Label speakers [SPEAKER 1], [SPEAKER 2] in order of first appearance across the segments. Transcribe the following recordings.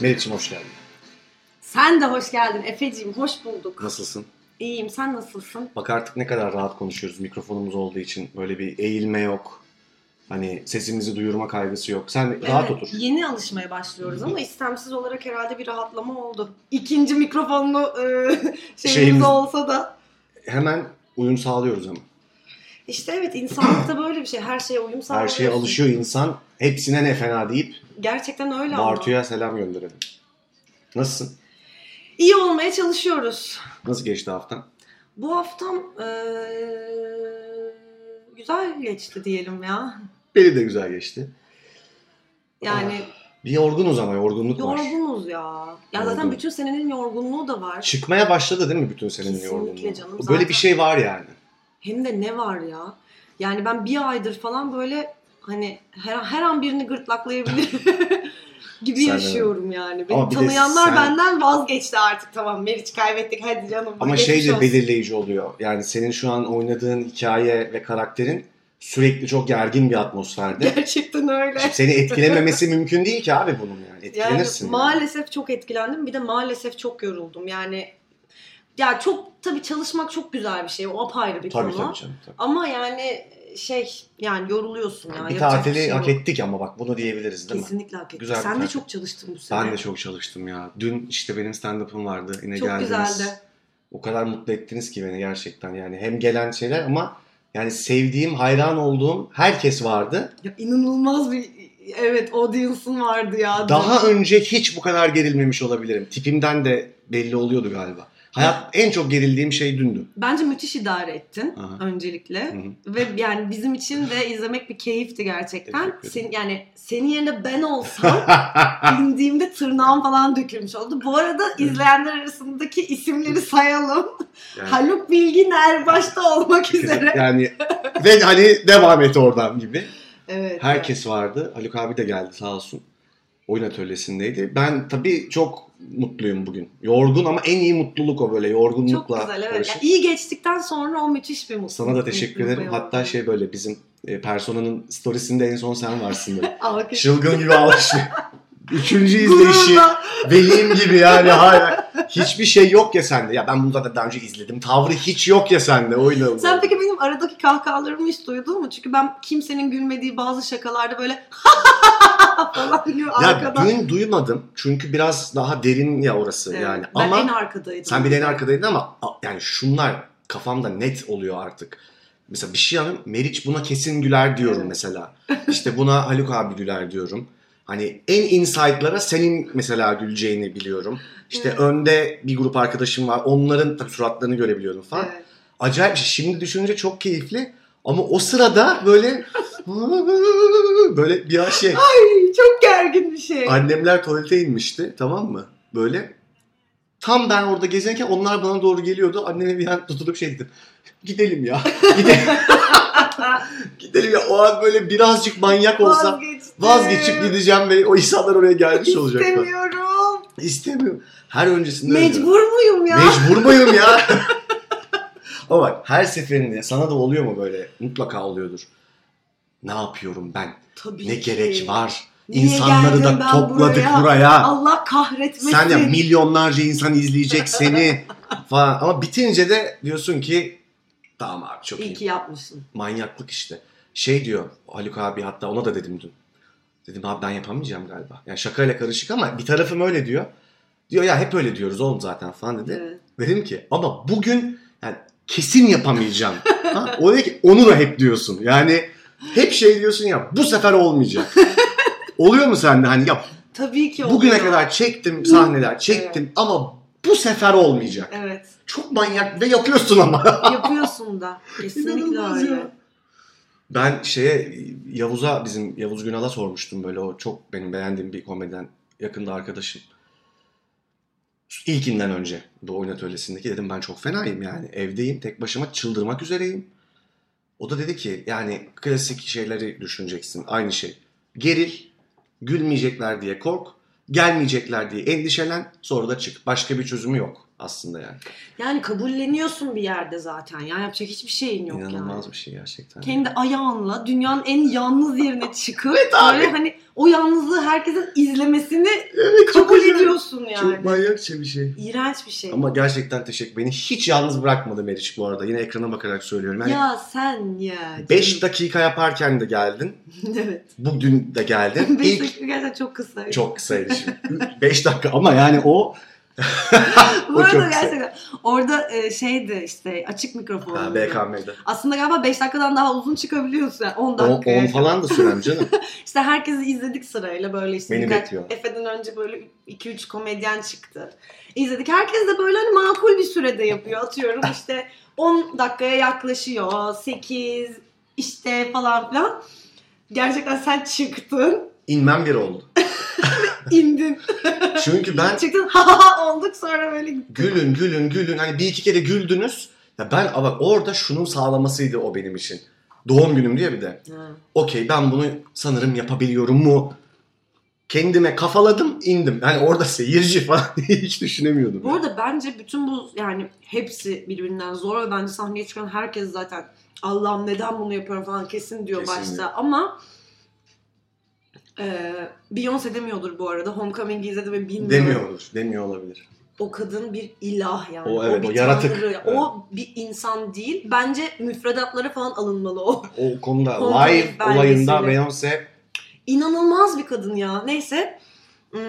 [SPEAKER 1] Melih'cim hoş geldin.
[SPEAKER 2] Sen de hoş geldin Efe'ciğim. Hoş bulduk.
[SPEAKER 1] Nasılsın?
[SPEAKER 2] İyiyim. Sen nasılsın?
[SPEAKER 1] Bak artık ne kadar rahat konuşuyoruz mikrofonumuz olduğu için. Böyle bir eğilme yok. Hani sesimizi duyurma kaygısı yok. Sen rahat
[SPEAKER 2] Evet,
[SPEAKER 1] otur.
[SPEAKER 2] Yeni alışmaya başlıyoruz ama istemsiz olarak herhalde bir rahatlama oldu. İkinci mikrofonlu e, şeyimiz
[SPEAKER 1] Şeyimiz-
[SPEAKER 2] olsa da.
[SPEAKER 1] Hemen uyum sağlıyoruz ama.
[SPEAKER 2] İşte evet insanlıkta böyle bir şey. Her şeye uyum
[SPEAKER 1] Her
[SPEAKER 2] sağlıyorsun.
[SPEAKER 1] şeye alışıyor insan. Hepsine ne fena deyip
[SPEAKER 2] Gerçekten öyle ama.
[SPEAKER 1] Bartu'ya selam gönderelim. Nasılsın?
[SPEAKER 2] İyi olmaya çalışıyoruz.
[SPEAKER 1] Nasıl geçti haftan?
[SPEAKER 2] Bu haftam e, güzel geçti diyelim ya.
[SPEAKER 1] Beni de güzel geçti.
[SPEAKER 2] Yani
[SPEAKER 1] Bir yorgunuz ama yorgunluk var.
[SPEAKER 2] yorgunuz ya. Ya zaten
[SPEAKER 1] Yorgun.
[SPEAKER 2] bütün senenin yorgunluğu da var.
[SPEAKER 1] Çıkmaya başladı değil mi bütün senenin
[SPEAKER 2] Kesinlikle
[SPEAKER 1] yorgunluğu?
[SPEAKER 2] canım,
[SPEAKER 1] Böyle
[SPEAKER 2] zaten-
[SPEAKER 1] bir şey var yani.
[SPEAKER 2] Hem de ne var ya? Yani ben bir aydır falan böyle hani her, her an birini gırtlaklayabilir gibi
[SPEAKER 1] Sen de.
[SPEAKER 2] yaşıyorum yani. Beni
[SPEAKER 1] Ama bir de
[SPEAKER 2] tanıyanlar
[SPEAKER 1] sen-
[SPEAKER 2] benden vazgeçti artık tamam Meriç kaybettik hadi canım.
[SPEAKER 1] Ama
[SPEAKER 2] geçmiş
[SPEAKER 1] şey de
[SPEAKER 2] olsun.
[SPEAKER 1] belirleyici oluyor. Yani senin şu an oynadığın hikaye ve karakterin sürekli çok gergin bir atmosferde.
[SPEAKER 2] Gerçekten öyle.
[SPEAKER 1] Şimdi seni etkilememesi mümkün değil ki abi bunun yani.
[SPEAKER 2] Yani
[SPEAKER 1] Etkilenirsin. yani.
[SPEAKER 2] maalesef çok etkilendim. Bir de maalesef çok yoruldum. Yani ya çok tabii çalışmak çok güzel bir şey. O apayrı bir
[SPEAKER 1] Tabii
[SPEAKER 2] konu.
[SPEAKER 1] tabii canım. tabii.
[SPEAKER 2] Ama yani şey yani yoruluyorsun ya.
[SPEAKER 1] Bir
[SPEAKER 2] yapacak
[SPEAKER 1] tatili
[SPEAKER 2] şey yok.
[SPEAKER 1] hak ettik ama bak bunu diyebiliriz değil mi?
[SPEAKER 2] Kesinlikle hak ettik.
[SPEAKER 1] Güzel bir
[SPEAKER 2] Sen de
[SPEAKER 1] tatil.
[SPEAKER 2] çok çalıştın bu sene.
[SPEAKER 1] Ben de çok çalıştım ya. Dün işte benim stand-up'ım vardı. Yine
[SPEAKER 2] Çok
[SPEAKER 1] geldiniz.
[SPEAKER 2] güzeldi.
[SPEAKER 1] O kadar mutlu ettiniz ki beni gerçekten yani. Hem gelen şeyler ama yani sevdiğim, hayran olduğum herkes vardı.
[SPEAKER 2] Ya inanılmaz bir evet audience'ın vardı ya.
[SPEAKER 1] Daha önce hiç bu kadar gerilmemiş olabilirim. Tipimden de belli oluyordu galiba. Hayat en çok gerildiğim şey dündü.
[SPEAKER 2] Bence müthiş idare ettin
[SPEAKER 1] Aha.
[SPEAKER 2] öncelikle.
[SPEAKER 1] Hı hı.
[SPEAKER 2] Ve yani bizim için de izlemek bir keyifti gerçekten.
[SPEAKER 1] Teşekkür ederim.
[SPEAKER 2] Sen, yani senin yerine ben olsam indiğimde tırnağım falan dökülmüş oldu. Bu arada izleyenler arasındaki isimleri sayalım.
[SPEAKER 1] Yani-
[SPEAKER 2] Haluk Bilgin her başta olmak üzere.
[SPEAKER 1] yani ve hani devam et oradan gibi.
[SPEAKER 2] Evet.
[SPEAKER 1] Herkes vardı. Haluk abi de geldi sağ olsun. Oyun atölyesindeydi. Ben tabii çok mutluyum bugün. Yorgun ama en iyi mutluluk o böyle
[SPEAKER 2] evet. Çok
[SPEAKER 1] yorgunlukla.
[SPEAKER 2] güzel evet.
[SPEAKER 1] karışık.
[SPEAKER 2] Yani iyi geçtikten sonra o müthiş bir mutluluk.
[SPEAKER 1] Sana da teşekkür
[SPEAKER 2] mutluluk
[SPEAKER 1] ederim.
[SPEAKER 2] oldu.
[SPEAKER 1] Hatta şey böyle bizim e, personanın storiesinde en son sen varsın böyle.
[SPEAKER 2] Alkış.
[SPEAKER 1] Çılgın gibi alıştı. Üçüncü izleyişi.
[SPEAKER 2] Gururla.
[SPEAKER 1] Veliyim gibi yani hala. Hiçbir şey yok ya sende. Ya ben bunu zaten daha önce izledim. Tavrı hiç yok ya sende. O inanılmaz.
[SPEAKER 2] Sen peki benim aradaki kahkahalarımı hiç duydun mu? Çünkü ben kimsenin gülmediği bazı şakalarda böyle falan gibi
[SPEAKER 1] Ya
[SPEAKER 2] arkada.
[SPEAKER 1] dün duymadım. Çünkü biraz daha derin ya orası
[SPEAKER 2] Evet,
[SPEAKER 1] yani.
[SPEAKER 2] Ben
[SPEAKER 1] Ama
[SPEAKER 2] en arkadaydım.
[SPEAKER 1] sen bir de en arkadaydın ama a- yani şunlar kafamda net oluyor artık. Mesela bir şey alayım. Meriç buna kesin güler diyorum
[SPEAKER 2] Evet.
[SPEAKER 1] mesela. İşte buna Haluk abi güler diyorum. Hani en insight'lara senin mesela güleceğini biliyorum. İşte
[SPEAKER 2] Evet.
[SPEAKER 1] önde bir grup arkadaşım var. Onların tabii suratlarını görebiliyorum falan.
[SPEAKER 2] Evet.
[SPEAKER 1] Acayip bir şey. Şimdi düşününce çok keyifli. Ama o sırada böyle böyle bir şey.
[SPEAKER 2] Ay, çok gergin bir şey.
[SPEAKER 1] Annemler tuvalete inmişti tamam mı? Böyle. Tam ben orada gezinirken onlar bana doğru geliyordu. Anneme bir an tutulup şey dedim. Gidelim ya. Gidelim, gidelim ya. O an böyle birazcık manyak olsa
[SPEAKER 2] Vazgeçtim.
[SPEAKER 1] vazgeçip gideceğim ve o insanlar oraya gelmiş olacak. falan.
[SPEAKER 2] İstemiyorum.
[SPEAKER 1] İstemiyorum. Her öncesinde öyle diyorum.
[SPEAKER 2] Mecbur muyum ya?
[SPEAKER 1] Mecbur muyum ya? Ama bak her seferinde sana da oluyor mu böyle? Mutlaka oluyordur. Ne yapıyorum ben?
[SPEAKER 2] Tabii
[SPEAKER 1] Ne
[SPEAKER 2] ki.
[SPEAKER 1] gerek var?
[SPEAKER 2] Niye
[SPEAKER 1] İnsanları
[SPEAKER 2] geldim
[SPEAKER 1] da
[SPEAKER 2] ben
[SPEAKER 1] topladık
[SPEAKER 2] buraya?
[SPEAKER 1] buraya.
[SPEAKER 2] Allah kahretmesin.
[SPEAKER 1] Sen de milyonlarca insan izleyecek seni falan. Ama bitince de diyorsun ki tamam abi çok
[SPEAKER 2] İyi
[SPEAKER 1] iyi.
[SPEAKER 2] ki yapmışsın.
[SPEAKER 1] Manyaklık işte. Şey diyor Haluk abi hatta ona da dedim dün. Dedim abi ben yapamayacağım galiba. Yani şakayla karışık ama bir tarafım öyle diyor. Diyor ya hep öyle diyoruz oğlum zaten falan dedi.
[SPEAKER 2] Evet.
[SPEAKER 1] Dedim ki ama bugün yani kesin yapamayacağım. ha? O dedi ki onu da hep diyorsun. Yani hep şey diyorsun ya bu sefer olmayacak. Oluyor mu sende hani ya
[SPEAKER 2] Tabii ki oluyor.
[SPEAKER 1] Bugüne kadar çektim sahneler, çektim ama bu sefer olmayacak.
[SPEAKER 2] Evet.
[SPEAKER 1] Çok manyak ve yapıyorsun ama.
[SPEAKER 2] Yapıyorsun da. Kesinlikle
[SPEAKER 1] İnanılmaz
[SPEAKER 2] öyle.
[SPEAKER 1] ya. Ben şeye Yavuz'a bizim Yavuz Günal'a sormuştum böyle o çok benim beğendiğim bir komedyen yakında arkadaşım. İlkinden önce bu oyun atölyesindeki dedim ben çok fenayım yani evdeyim tek başıma çıldırmak üzereyim. O da dedi ki yani klasik şeyleri düşüneceksin aynı şey. Geril, gülmeyecekler diye kork, gelmeyecekler diye endişelen sonra da çık. Başka bir çözümü yok. aslında yani.
[SPEAKER 2] Yani kabulleniyorsun bir yerde zaten. Ya yapacak hiçbir şeyin yok
[SPEAKER 1] İnanılmaz
[SPEAKER 2] yani.
[SPEAKER 1] bir şey gerçekten.
[SPEAKER 2] Kendi ayağınla dünyanın en yalnız yerine çıkıp
[SPEAKER 1] abi.
[SPEAKER 2] böyle hani o yalnızlığı herkesin izlemesini
[SPEAKER 1] Evet, çok
[SPEAKER 2] kabul
[SPEAKER 1] acayip.
[SPEAKER 2] ediyorsun yani.
[SPEAKER 1] Çok manyakça bir şey.
[SPEAKER 2] İğrenç bir şey.
[SPEAKER 1] Ama gerçekten teşekkür. Beni hiç yalnız bırakmadı Meriç bu arada. Yine ekrana bakarak söylüyorum. Yani
[SPEAKER 2] ya sen ya.
[SPEAKER 1] 5 dakika yaparken de geldin.
[SPEAKER 2] evet.
[SPEAKER 1] Bugün de geldin.
[SPEAKER 2] 5
[SPEAKER 1] İlk
[SPEAKER 2] dakika gerçekten çok kısa.
[SPEAKER 1] çok kısaydı şimdi. 5 dakika ama yani o
[SPEAKER 2] Bu arada
[SPEAKER 1] çok kısa.
[SPEAKER 2] gerçekten orada e, şeydi işte açık mikrofon.
[SPEAKER 1] ha,
[SPEAKER 2] oluyor.
[SPEAKER 1] BKM'de.
[SPEAKER 2] Aslında galiba 5 dakikadan daha uzun çıkabiliyorsun. Yani 10 dakika.
[SPEAKER 1] 10 falan da sürem canım.
[SPEAKER 2] İşte herkesi izledik sırayla böyle işte.
[SPEAKER 1] Beni
[SPEAKER 2] birkaç-
[SPEAKER 1] bekliyorlar.
[SPEAKER 2] Efe'den önce böyle 2-3 komedyen çıktı. İzledik. Herkes de böyle hani makul bir sürede yapıyor. Atıyorum işte 10 dakikaya yaklaşıyor. 8 işte falan filan. Gerçekten sen çıktın,
[SPEAKER 1] İnmem bir oldu.
[SPEAKER 2] indin.
[SPEAKER 1] Çünkü ben
[SPEAKER 2] Çıktın ha ha ha olduk sonra böyle
[SPEAKER 1] gülün gülün gülün hani bir iki kere güldünüz. Ya ben ama bak orada şunun sağlamasıydı o benim için. Doğum günüm diye bir de. Okey ben bunu sanırım yapabiliyorum mu? Kendime kafaladım indim. Yani orada seyirci falan hiç düşünemiyordum.
[SPEAKER 2] Bu arada bence bütün bu yani hepsi birbirinden zor ve bence sahneye çıkan herkes zaten Allah'ım neden bunu yapıyorum falan kesin diyor
[SPEAKER 1] Kesinlikle.
[SPEAKER 2] başta ama e, Beyoncé demiyordur bu arada. Homecoming'i izledim ve bilmiyorum.
[SPEAKER 1] Demiyor olur. Demiyor olabilir.
[SPEAKER 2] O kadın bir ilah yani.
[SPEAKER 1] O evet,
[SPEAKER 2] bir
[SPEAKER 1] o yaratık.
[SPEAKER 2] tanrı. O bir insan değil. Bence müfredatlara falan alınmalı o.
[SPEAKER 1] O konuda
[SPEAKER 2] Konu
[SPEAKER 1] live
[SPEAKER 2] belgeseli.
[SPEAKER 1] olayında Beyoncé
[SPEAKER 2] İnanılmaz bir kadın ya. Neyse. Hmm,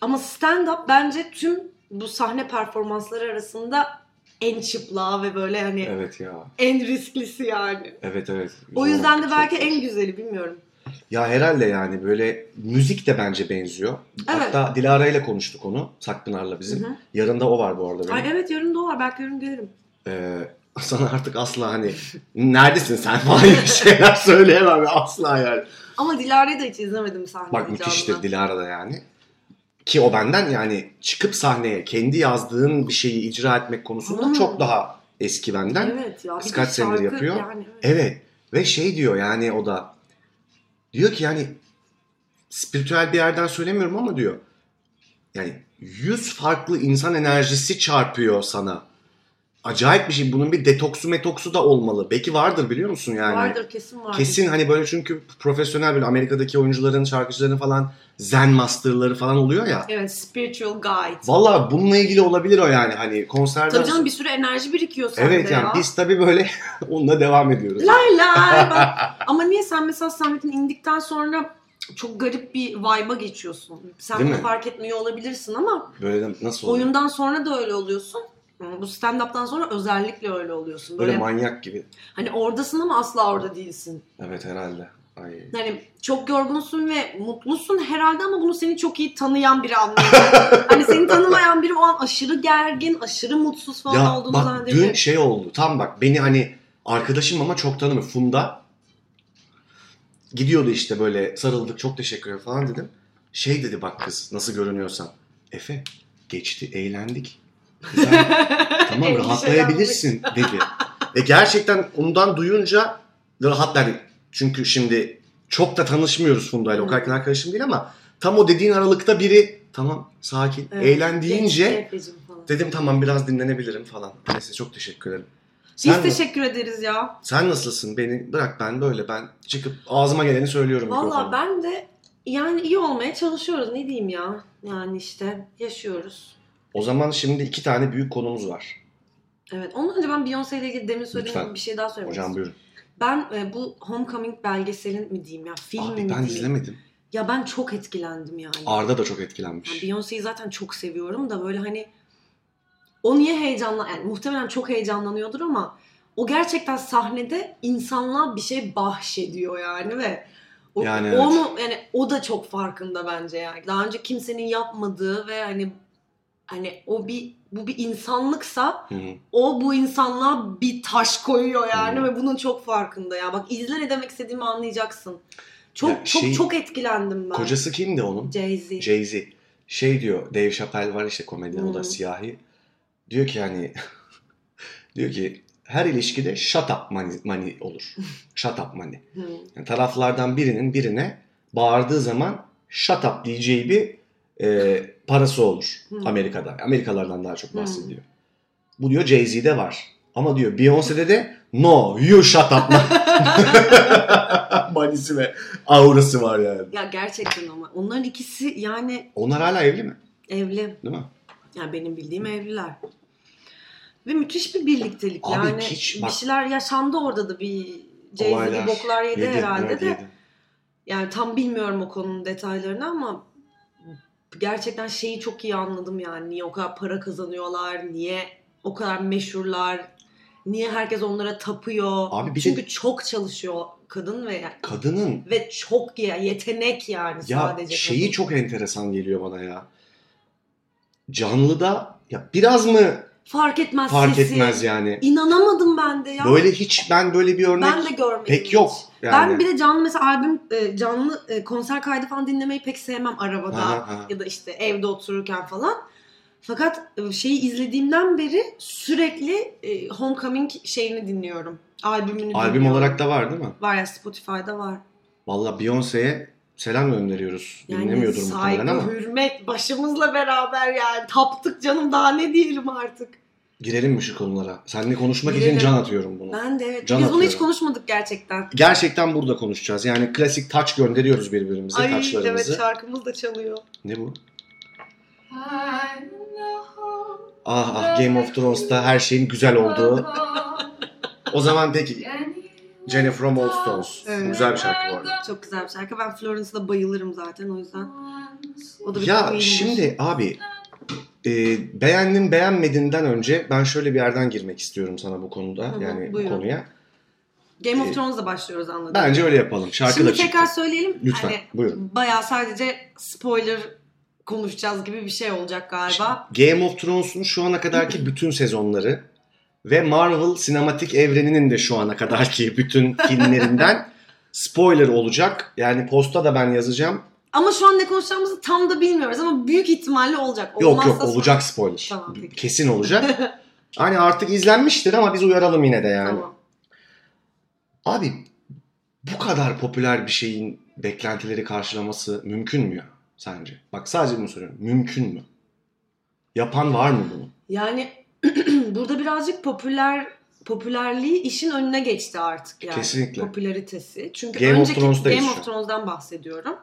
[SPEAKER 2] ama stand-up bence tüm bu sahne performansları arasında en çıplağı ve böyle hani
[SPEAKER 1] evet ya.
[SPEAKER 2] en risklisi yani.
[SPEAKER 1] Evet evet.
[SPEAKER 2] O yüzden de
[SPEAKER 1] Çok-
[SPEAKER 2] belki en güzeli bilmiyorum.
[SPEAKER 1] Ya herhalde yani böyle müzik de bence benziyor.
[SPEAKER 2] Evet.
[SPEAKER 1] Hatta Dilara ile konuştuk onu. Sakpınar'la bizim.
[SPEAKER 2] Hı hı.
[SPEAKER 1] Yarın da o var bu arada benim.
[SPEAKER 2] Ay evet yarın da o var. Belki yarın gelirim.
[SPEAKER 1] Ee, sana artık asla hani neredesin sen falan gibi şeyler söyleyemem ya, asla yani.
[SPEAKER 2] Ama Dilara'yı da hiç izlemedim sahnede.
[SPEAKER 1] Bak müthiştir
[SPEAKER 2] canlı.
[SPEAKER 1] Dilara da yani. Ki o benden yani çıkıp sahneye kendi yazdığın bir şeyi icra etmek konusunda
[SPEAKER 2] Hmm.
[SPEAKER 1] çok daha eski benden. Evet.
[SPEAKER 2] Evet ya. bir
[SPEAKER 1] Kız
[SPEAKER 2] de
[SPEAKER 1] kaç senedir
[SPEAKER 2] şarkı
[SPEAKER 1] yapıyor?
[SPEAKER 2] Yani, evet.
[SPEAKER 1] Ve şey diyor yani o da diyor ki yani spiritüel bir yerden söylemiyorum ama diyor yani yüz farklı insan enerjisi çarpıyor sana. Acayip bir şey. Bunun bir detoksu metoksu da olmalı. Belki vardır biliyor musun yani?
[SPEAKER 2] Vardır kesin vardır.
[SPEAKER 1] Kesin hani böyle çünkü profesyonel böyle Amerika'daki oyuncuların, şarkıcıların falan zen masterları falan oluyor ya.
[SPEAKER 2] Evet spiritual guide.
[SPEAKER 1] Valla bununla ilgili olabilir o yani hani konserde.
[SPEAKER 2] Tabii canım bir sürü enerji birikiyor sende
[SPEAKER 1] Evet yani
[SPEAKER 2] ya.
[SPEAKER 1] biz tabii böyle onunla devam ediyoruz.
[SPEAKER 2] Lay lay bak. Ama niye sen mesela Samet'in indikten sonra çok garip bir vibe'a geçiyorsun. Sen
[SPEAKER 1] Değil
[SPEAKER 2] bunu
[SPEAKER 1] mi?
[SPEAKER 2] fark etmiyor olabilirsin ama
[SPEAKER 1] Böyle de- nasıl oluyor?
[SPEAKER 2] oyundan sonra da öyle oluyorsun. Hmm, Bu stand-up'tan sonra özellikle öyle oluyorsun.
[SPEAKER 1] Böyle
[SPEAKER 2] Böyle
[SPEAKER 1] manyak gibi.
[SPEAKER 2] hani oradasın ama asla orada değilsin.
[SPEAKER 1] Evet herhalde. Ay.
[SPEAKER 2] Hani çok yorgunsun ve mutlusun herhalde ama bunu seni çok iyi tanıyan biri anlayacak. hani seni tanımayan biri o an aşırı gergin, aşırı mutsuz falan
[SPEAKER 1] Ya
[SPEAKER 2] olduğunu
[SPEAKER 1] bak
[SPEAKER 2] zannedebilir.
[SPEAKER 1] dün şey oldu. Tam bak beni hani arkadaşım ama çok tanımıyor. Funda gidiyordu işte böyle sarıldık çok teşekkür ederim falan dedim. Şey dedi bak kız nasıl görünüyorsan. Efe geçti eğlendik. Güzel. tamam rahatlayabilirsin dedi. Ve gerçekten ondan duyunca rahat yani çünkü şimdi çok da tanışmıyoruz Funda'yla o kadar yakın arkadaşım değil ama tam o dediğin aralıkta biri tamam sakin
[SPEAKER 2] Evet,
[SPEAKER 1] eğlen deyince
[SPEAKER 2] geçti Efe'cim falan.
[SPEAKER 1] Dedim tamam biraz dinlenebilirim falan. Neyse çok teşekkür ederim. Sen,
[SPEAKER 2] Biz
[SPEAKER 1] na-
[SPEAKER 2] teşekkür ederiz ya.
[SPEAKER 1] sen nasılsın? Beni bırak ben böyle ben çıkıp ağzıma geleni söylüyorum.
[SPEAKER 2] Valla
[SPEAKER 1] mikrofona.
[SPEAKER 2] ben de yani iyi olmaya çalışıyoruz. Ne diyeyim ya? Yani işte yaşıyoruz.
[SPEAKER 1] O zaman şimdi iki tane büyük konumuz var.
[SPEAKER 2] Evet. Ondan önce ben Beyoncé ile ilgili demin söylediğim
[SPEAKER 1] Lütfen.
[SPEAKER 2] bir şey daha söylemek
[SPEAKER 1] Hocam
[SPEAKER 2] istiyorum.
[SPEAKER 1] buyurun.
[SPEAKER 2] Ben e, bu Homecoming belgeselin mi diyeyim ya film mi
[SPEAKER 1] Abi ben
[SPEAKER 2] diyeyim?
[SPEAKER 1] izlemedim.
[SPEAKER 2] Ya ben çok etkilendim yani.
[SPEAKER 1] Arda da çok
[SPEAKER 2] yani
[SPEAKER 1] etkilenmiş.
[SPEAKER 2] Beyoncé'yi zaten çok seviyorum da böyle hani o niye heyecanla yani muhtemelen çok heyecanlanıyordur ama o gerçekten sahnede insanlığa bir şey bahşediyor yani ve o,
[SPEAKER 1] Yani evet.
[SPEAKER 2] onu yani o da çok farkında bence yani. Daha önce kimsenin yapmadığı ve hani hani o bir bu bir insanlıksa
[SPEAKER 1] Hı hı.
[SPEAKER 2] o bu insanlığa bir taş koyuyor yani
[SPEAKER 1] Hı.
[SPEAKER 2] ve bunun çok farkında ya. Bak izle ne demek istediğimi anlayacaksın. Çok
[SPEAKER 1] Ya
[SPEAKER 2] çok
[SPEAKER 1] şey-
[SPEAKER 2] çok etkilendim ben.
[SPEAKER 1] Kocası kimdi onun?
[SPEAKER 2] Jay-Z.
[SPEAKER 1] Jay-Z. Şey diyor Dave Chappelle var işte komedyen o da
[SPEAKER 2] Hı.
[SPEAKER 1] siyahi. Diyor ki hani diyor ki her ilişkide shut up money, money olur. shut up money.
[SPEAKER 2] Hı.
[SPEAKER 1] Yani taraflardan birinin birine bağırdığı zaman shut up diyeceği bir e, parası olur
[SPEAKER 2] Hı.
[SPEAKER 1] Amerika'da. Amerikalardan daha
[SPEAKER 2] Hmm.
[SPEAKER 1] çok bahsediyor. Bu diyor Jay-Z'de var. Ama diyor Beyoncé'de de no you shut up. Manisi ve aurası var yani.
[SPEAKER 2] Ya gerçekten ama onların ikisi yani
[SPEAKER 1] Onlar hala evli mi?
[SPEAKER 2] evli.
[SPEAKER 1] Değil mi?
[SPEAKER 2] Yani benim bildiğim evliler. Ve müthiş bir birliktelik
[SPEAKER 1] Abi
[SPEAKER 2] yani.
[SPEAKER 1] hiç
[SPEAKER 2] bir
[SPEAKER 1] bak-
[SPEAKER 2] şeyler yaşandı orada da bir Jay-Z
[SPEAKER 1] Olaylar.
[SPEAKER 2] bir boklar yedi,
[SPEAKER 1] Yedi,
[SPEAKER 2] herhalde
[SPEAKER 1] evet,
[SPEAKER 2] de.
[SPEAKER 1] yedi.
[SPEAKER 2] Yani tam bilmiyorum o konunun detaylarını ama gerçekten şeyi çok iyi anladım yani. Niye o kadar para kazanıyorlar, niye o kadar meşhurlar, niye herkes onlara tapıyor.
[SPEAKER 1] Abi bir de-
[SPEAKER 2] Çünkü çok çalışıyor kadın ve
[SPEAKER 1] Kadının
[SPEAKER 2] ve çok ya yetenek yani
[SPEAKER 1] ya
[SPEAKER 2] sadece.
[SPEAKER 1] şeyi
[SPEAKER 2] kadın.
[SPEAKER 1] çok enteresan geliyor bana ya. Canlıda ya biraz mı
[SPEAKER 2] fark etmez
[SPEAKER 1] fark
[SPEAKER 2] sesi.
[SPEAKER 1] etmez yani.
[SPEAKER 2] İnanamadım ben de ya.
[SPEAKER 1] Böyle hiç ben böyle bir örnek
[SPEAKER 2] ben de görmedim.
[SPEAKER 1] pek
[SPEAKER 2] hiç.
[SPEAKER 1] yok yani.
[SPEAKER 2] Ben bir de canlı mesela albüm e, canlı e, konser kaydı falan dinlemeyi pek sevmem arabada
[SPEAKER 1] Ha, ha.
[SPEAKER 2] ya da işte evde otururken falan. Fakat e, şeyi izlediğimden beri sürekli e, Homecoming şeyini dinliyorum. Albümünü
[SPEAKER 1] Albüm
[SPEAKER 2] dinliyorum.
[SPEAKER 1] olarak da var değil mi?
[SPEAKER 2] var ya Spotify'da var.
[SPEAKER 1] Valla Beyoncé'ye selam gönderiyoruz.
[SPEAKER 2] Yani
[SPEAKER 1] Dinlemiyordur muhtemelen
[SPEAKER 2] saygı,
[SPEAKER 1] ama.
[SPEAKER 2] hürmet başımızla beraber yani taptık canım daha ne diyelim artık.
[SPEAKER 1] Girelim mi şu konulara? Seninle konuşmak
[SPEAKER 2] Girelim.
[SPEAKER 1] için can atıyorum bunu.
[SPEAKER 2] Ben de evet.
[SPEAKER 1] Can
[SPEAKER 2] Biz bunu hiç
[SPEAKER 1] atıyorum.
[SPEAKER 2] konuşmadık gerçekten.
[SPEAKER 1] Gerçekten burada konuşacağız. Yani klasik taç gönderiyoruz birbirimize
[SPEAKER 2] Ay
[SPEAKER 1] taçlarımızı.
[SPEAKER 2] evet şarkımız da çalıyor.
[SPEAKER 1] Ne bu?
[SPEAKER 3] I'm the hope
[SPEAKER 1] Ah ah Game of Thrones'ta her şeyin güzel olduğu.
[SPEAKER 3] of
[SPEAKER 1] O zaman peki
[SPEAKER 3] any
[SPEAKER 1] Jennifer from Old Stones.
[SPEAKER 2] Evet.
[SPEAKER 1] Bu güzel bir şarkı bu arada.
[SPEAKER 2] Çok güzel bir şarkı. Ben Florence'da bayılırım zaten o yüzden.
[SPEAKER 3] one's
[SPEAKER 2] O da bir
[SPEAKER 1] Ya
[SPEAKER 2] Queen'miş.
[SPEAKER 1] şimdi abi e, beğendim beğenmediğinden önce ben şöyle bir yerden girmek istiyorum sana bu konuda.
[SPEAKER 2] Hı hı,
[SPEAKER 1] yani bu
[SPEAKER 2] buyurun.
[SPEAKER 1] konuya.
[SPEAKER 2] Game
[SPEAKER 1] Ee,
[SPEAKER 2] of Thrones'la başlıyoruz anladım.
[SPEAKER 1] Bence öyle yapalım. Şarkı
[SPEAKER 2] Şimdi
[SPEAKER 1] da çıktı.
[SPEAKER 2] tekrar söyleyelim.
[SPEAKER 1] Lütfen
[SPEAKER 2] Hani
[SPEAKER 1] buyurun.
[SPEAKER 2] bayağı sadece spoiler konuşacağız gibi bir şey olacak galiba.
[SPEAKER 1] Game of Thrones'un şu ana kadarki bütün sezonları ve Marvel sinematik evreninin de şu ana kadarki bütün filmlerinden spoiler olacak. Yani posta da ben yazacağım.
[SPEAKER 2] Ama şu an ne konuşacağımızı tam da bilmiyoruz ama büyük ihtimalle olacak.
[SPEAKER 1] Yok
[SPEAKER 2] Olmazsa
[SPEAKER 1] yok olacak spoiler.
[SPEAKER 2] Tamam, peki.
[SPEAKER 1] Kesin olacak. hani artık izlenmiştir ama biz uyaralım yine de yani.
[SPEAKER 2] Tamam.
[SPEAKER 1] Abi bu kadar popüler bir şeyin beklentileri karşılaması mümkün mü ya sence? Bak sadece bunu soruyorum. Mümkün mü? Yapan var mı bunu?
[SPEAKER 2] Yani burada birazcık popüler popülerliği işin önüne geçti artık yani.
[SPEAKER 1] Kesinlikle.
[SPEAKER 2] Popülaritesi. Çünkü
[SPEAKER 1] Game of
[SPEAKER 2] önceki
[SPEAKER 1] Thrones'tayız
[SPEAKER 2] Game
[SPEAKER 1] şu an.
[SPEAKER 2] of Thrones'dan bahsediyorum.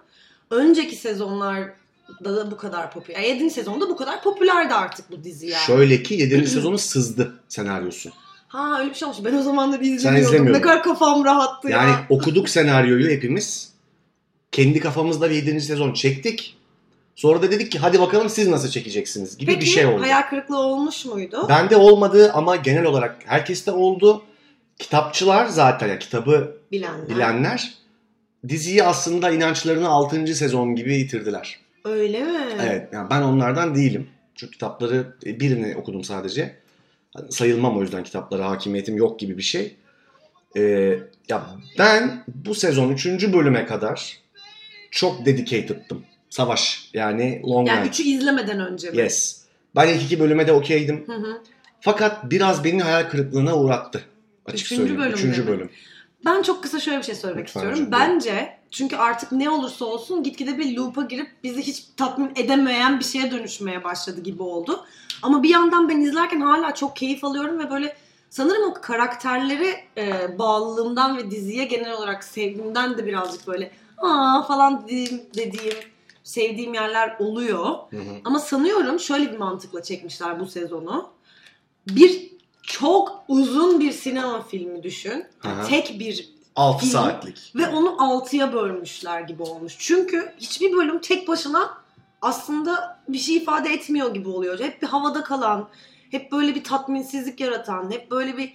[SPEAKER 2] Önceki sezonlarda da bu kadar popüler. 7. sezonda bu kadar popülerdi artık bu dizi yani.
[SPEAKER 1] Şöyle ki 7. sezonu sızdı senaryosu.
[SPEAKER 2] Ha öyle bir şey olmuş. Ben o zamanları izlemiyordum.
[SPEAKER 1] izlemiyordun.
[SPEAKER 2] Ne kadar kafam rahattı
[SPEAKER 1] Yani
[SPEAKER 2] ya.
[SPEAKER 1] okuduk senaryoyu hepimiz. Kendi kafamızda bir 7. sezon çektik. Sonra da dedik ki hadi bakalım siz nasıl çekeceksiniz gibi
[SPEAKER 2] Peki
[SPEAKER 1] bir şey oldu.
[SPEAKER 2] hayal kırıklığı olmuş muydu?
[SPEAKER 1] Bende olmadı ama genel olarak herkeste oldu. Kitapçılar zaten yani kitabı
[SPEAKER 2] Bilenler.
[SPEAKER 1] bilenler diziyi aslında inançlarını 6. sezon gibi yitirdiler.
[SPEAKER 2] Öyle mi?
[SPEAKER 1] Evet, yani ben onlardan değilim. Çünkü kitapları e, birini okudum sadece. Hani Sayılmam o yüzden kitaplara hakimiyetim yok gibi bir şey. Ee, ya ben bu sezon 3. bölüme kadar çok dedicated'tım. Savaş yani Long
[SPEAKER 2] Yani
[SPEAKER 1] Night.
[SPEAKER 2] üçü izlemeden önce mi?
[SPEAKER 1] Yes. Ben ilk iki bölüme de okeydim.
[SPEAKER 2] Hı hı.
[SPEAKER 1] Fakat biraz beni hayal kırıklığına uğrattı. Açık
[SPEAKER 2] Üçüncü
[SPEAKER 1] söyleyeyim.
[SPEAKER 2] bölümde
[SPEAKER 1] Üçüncü
[SPEAKER 2] mi?
[SPEAKER 1] bölüm.
[SPEAKER 2] Ben çok kısa şöyle bir şey söylemek
[SPEAKER 1] Lütfen
[SPEAKER 2] istiyorum.
[SPEAKER 1] hocam,
[SPEAKER 2] Bence çünkü artık ne olursa olsun gitgide bir loop'a girip bizi hiç tatmin edemeyen bir şeye dönüşmeye başladı gibi oldu. Ama bir yandan ben izlerken hala çok keyif alıyorum ve böyle sanırım o karakterlere e, bağlılığımdan ve diziye genel olarak sevgimden de birazcık böyle aa falan dediğim, dediğim sevdiğim yerler oluyor.
[SPEAKER 1] Hı hı.
[SPEAKER 2] Ama sanıyorum şöyle bir mantıkla çekmişler bu sezonu. Bir çok uzun bir sinema filmi düşün.
[SPEAKER 1] Aha.
[SPEAKER 2] Tek bir
[SPEAKER 1] Altı
[SPEAKER 2] Film.
[SPEAKER 1] saatlik.
[SPEAKER 2] ve onu altıya bölmüşler gibi olmuş. Çünkü hiçbir bölüm tek başına aslında bir şey ifade etmiyor gibi oluyor. Hep bir havada kalan, hep böyle bir tatminsizlik yaratan, hep böyle bir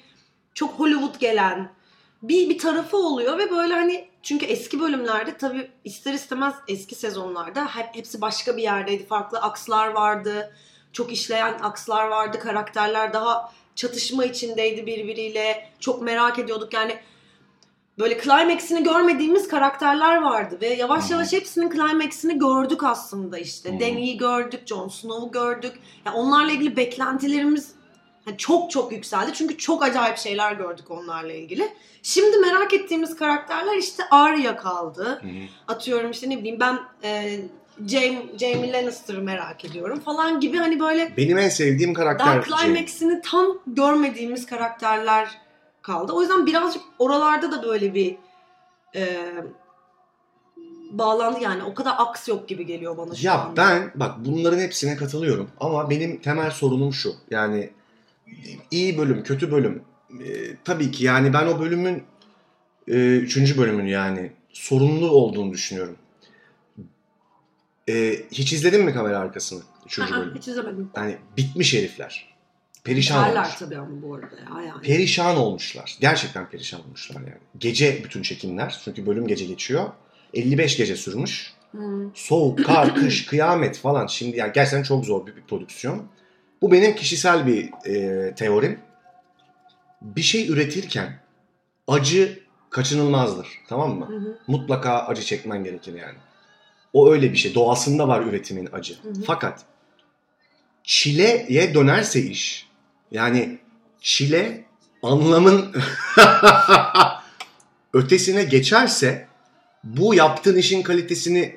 [SPEAKER 2] çok Hollywood gelen bir bir tarafı oluyor ve böyle hani çünkü eski bölümlerde tabii ister istemez eski sezonlarda hep hepsi başka bir yerdeydi. Farklı akslar vardı. Çok işleyen akslar vardı. Karakterler daha çatışma içindeydi birbiriyle. Çok merak ediyorduk yani böyle climax'ini görmediğimiz karakterler vardı ve yavaş
[SPEAKER 1] Hı.
[SPEAKER 2] yavaş hepsinin climax'ini gördük aslında işte.
[SPEAKER 1] Hı.
[SPEAKER 2] Dany'i gördük, Jon Snow'u gördük. Yani onlarla ilgili beklentilerimiz yani çok çok yükseldi çünkü çok acayip şeyler gördük onlarla ilgili. Şimdi merak ettiğimiz karakterler işte Arya kaldı.
[SPEAKER 1] Hı hı.
[SPEAKER 2] Atıyorum işte ne bileyim ben e, Jamie, Jamie Lannister'ı merak ediyorum falan gibi hani böyle
[SPEAKER 1] Benim en sevdiğim
[SPEAKER 2] daha
[SPEAKER 1] karakter Jamie.
[SPEAKER 2] climax'ini tam görmediğimiz karakterler kaldı. O yüzden birazcık oralarda da böyle bir e, bağlandı yani. O kadar aks yok gibi geliyor bana şu
[SPEAKER 1] Ya
[SPEAKER 2] anda.
[SPEAKER 1] ben bak bunların hepsine katılıyorum ama benim temel sorunum şu. Yani iyi bölüm, kötü bölüm. Ee, tabii ki yani ben o bölümün e, üçüncü bölümün yani sorunlu olduğunu düşünüyorum. Ee, hiç izledin mi kamera arkasını? Üçüncü
[SPEAKER 2] Aa,
[SPEAKER 1] bölüm.
[SPEAKER 2] Hiç izlemedim.
[SPEAKER 1] Yani bitmiş herifler. Perişan olmuş.
[SPEAKER 2] Derler tabii ama bu arada ya yani.
[SPEAKER 1] Perişan olmuşlar. Gerçekten perişan olmuşlar yani. Gece bütün çekimler. Çünkü bölüm gece geçiyor. 55 gece sürmüş.
[SPEAKER 2] Hmm.
[SPEAKER 1] Soğuk, kar, kış, kıyamet falan. Şimdi yani gerçekten çok zor bir, bir prodüksiyon. Bu benim kişisel bir e, teorim. Bir şey üretirken acı kaçınılmazdır. Tamam mı?
[SPEAKER 2] Hı hı.
[SPEAKER 1] Mutlaka acı çekmen gerekir yani. O öyle bir şey. Doğasında var üretimin acı.
[SPEAKER 2] Hı hı.
[SPEAKER 1] Fakat çileye dönerse iş yani çile anlamın ötesine geçerse bu yaptığın işin kalitesini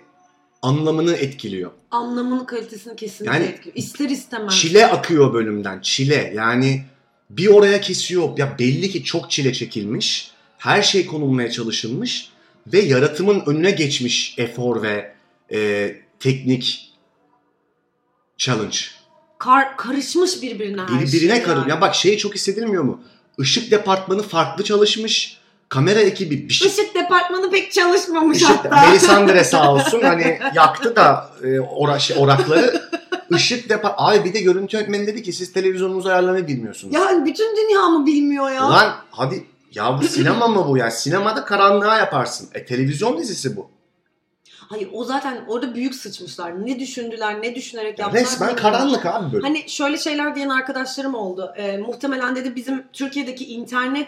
[SPEAKER 1] anlamını etkiliyor.
[SPEAKER 2] Anlamını kalitesini kesinlikle
[SPEAKER 1] Yani-
[SPEAKER 2] etkiliyor. İster istemez.
[SPEAKER 1] Çile akıyor bölümden. Çile. Yani bir oraya kesiyor. Ya belli ki çok çile çekilmiş. Her şey konulmaya çalışılmış ve yaratımın önüne geçmiş efor ve e, teknik challenge.
[SPEAKER 2] Kar- karışmış birbirine her şey.
[SPEAKER 1] Birbirine karın.
[SPEAKER 2] yani.
[SPEAKER 1] Ya bak şey çok hissedilmiyor mu? Işık departmanı farklı çalışmış. Kamera ekibi bir şey.
[SPEAKER 2] Işık departmanı pek çalışmamış
[SPEAKER 1] Işık,
[SPEAKER 2] hatta.
[SPEAKER 1] Melisandre sağ olsun hani yaktı da e, ora, şey, orakları. Işık depa... Abi bir de görüntü yönetmeni dedi ki siz televizyonunuzu ayarlamayı bilmiyorsunuz.
[SPEAKER 2] Yani bütün dünya mı bilmiyor ya?
[SPEAKER 1] Ulan hadi ya bu sinema mı bu ya? Sinemada karanlığa yaparsın. E televizyon dizisi bu.
[SPEAKER 2] Hayır o zaten orada büyük sıçmışlar. Ne düşündüler, ne düşünerek
[SPEAKER 1] Ya
[SPEAKER 2] yaptılar.
[SPEAKER 1] resmen
[SPEAKER 2] bilmiyorum.
[SPEAKER 1] karanlık abi böyle.
[SPEAKER 2] Hani şöyle şeyler diyen arkadaşlarım oldu. Ee, muhtemelen dedi bizim Türkiye'deki internet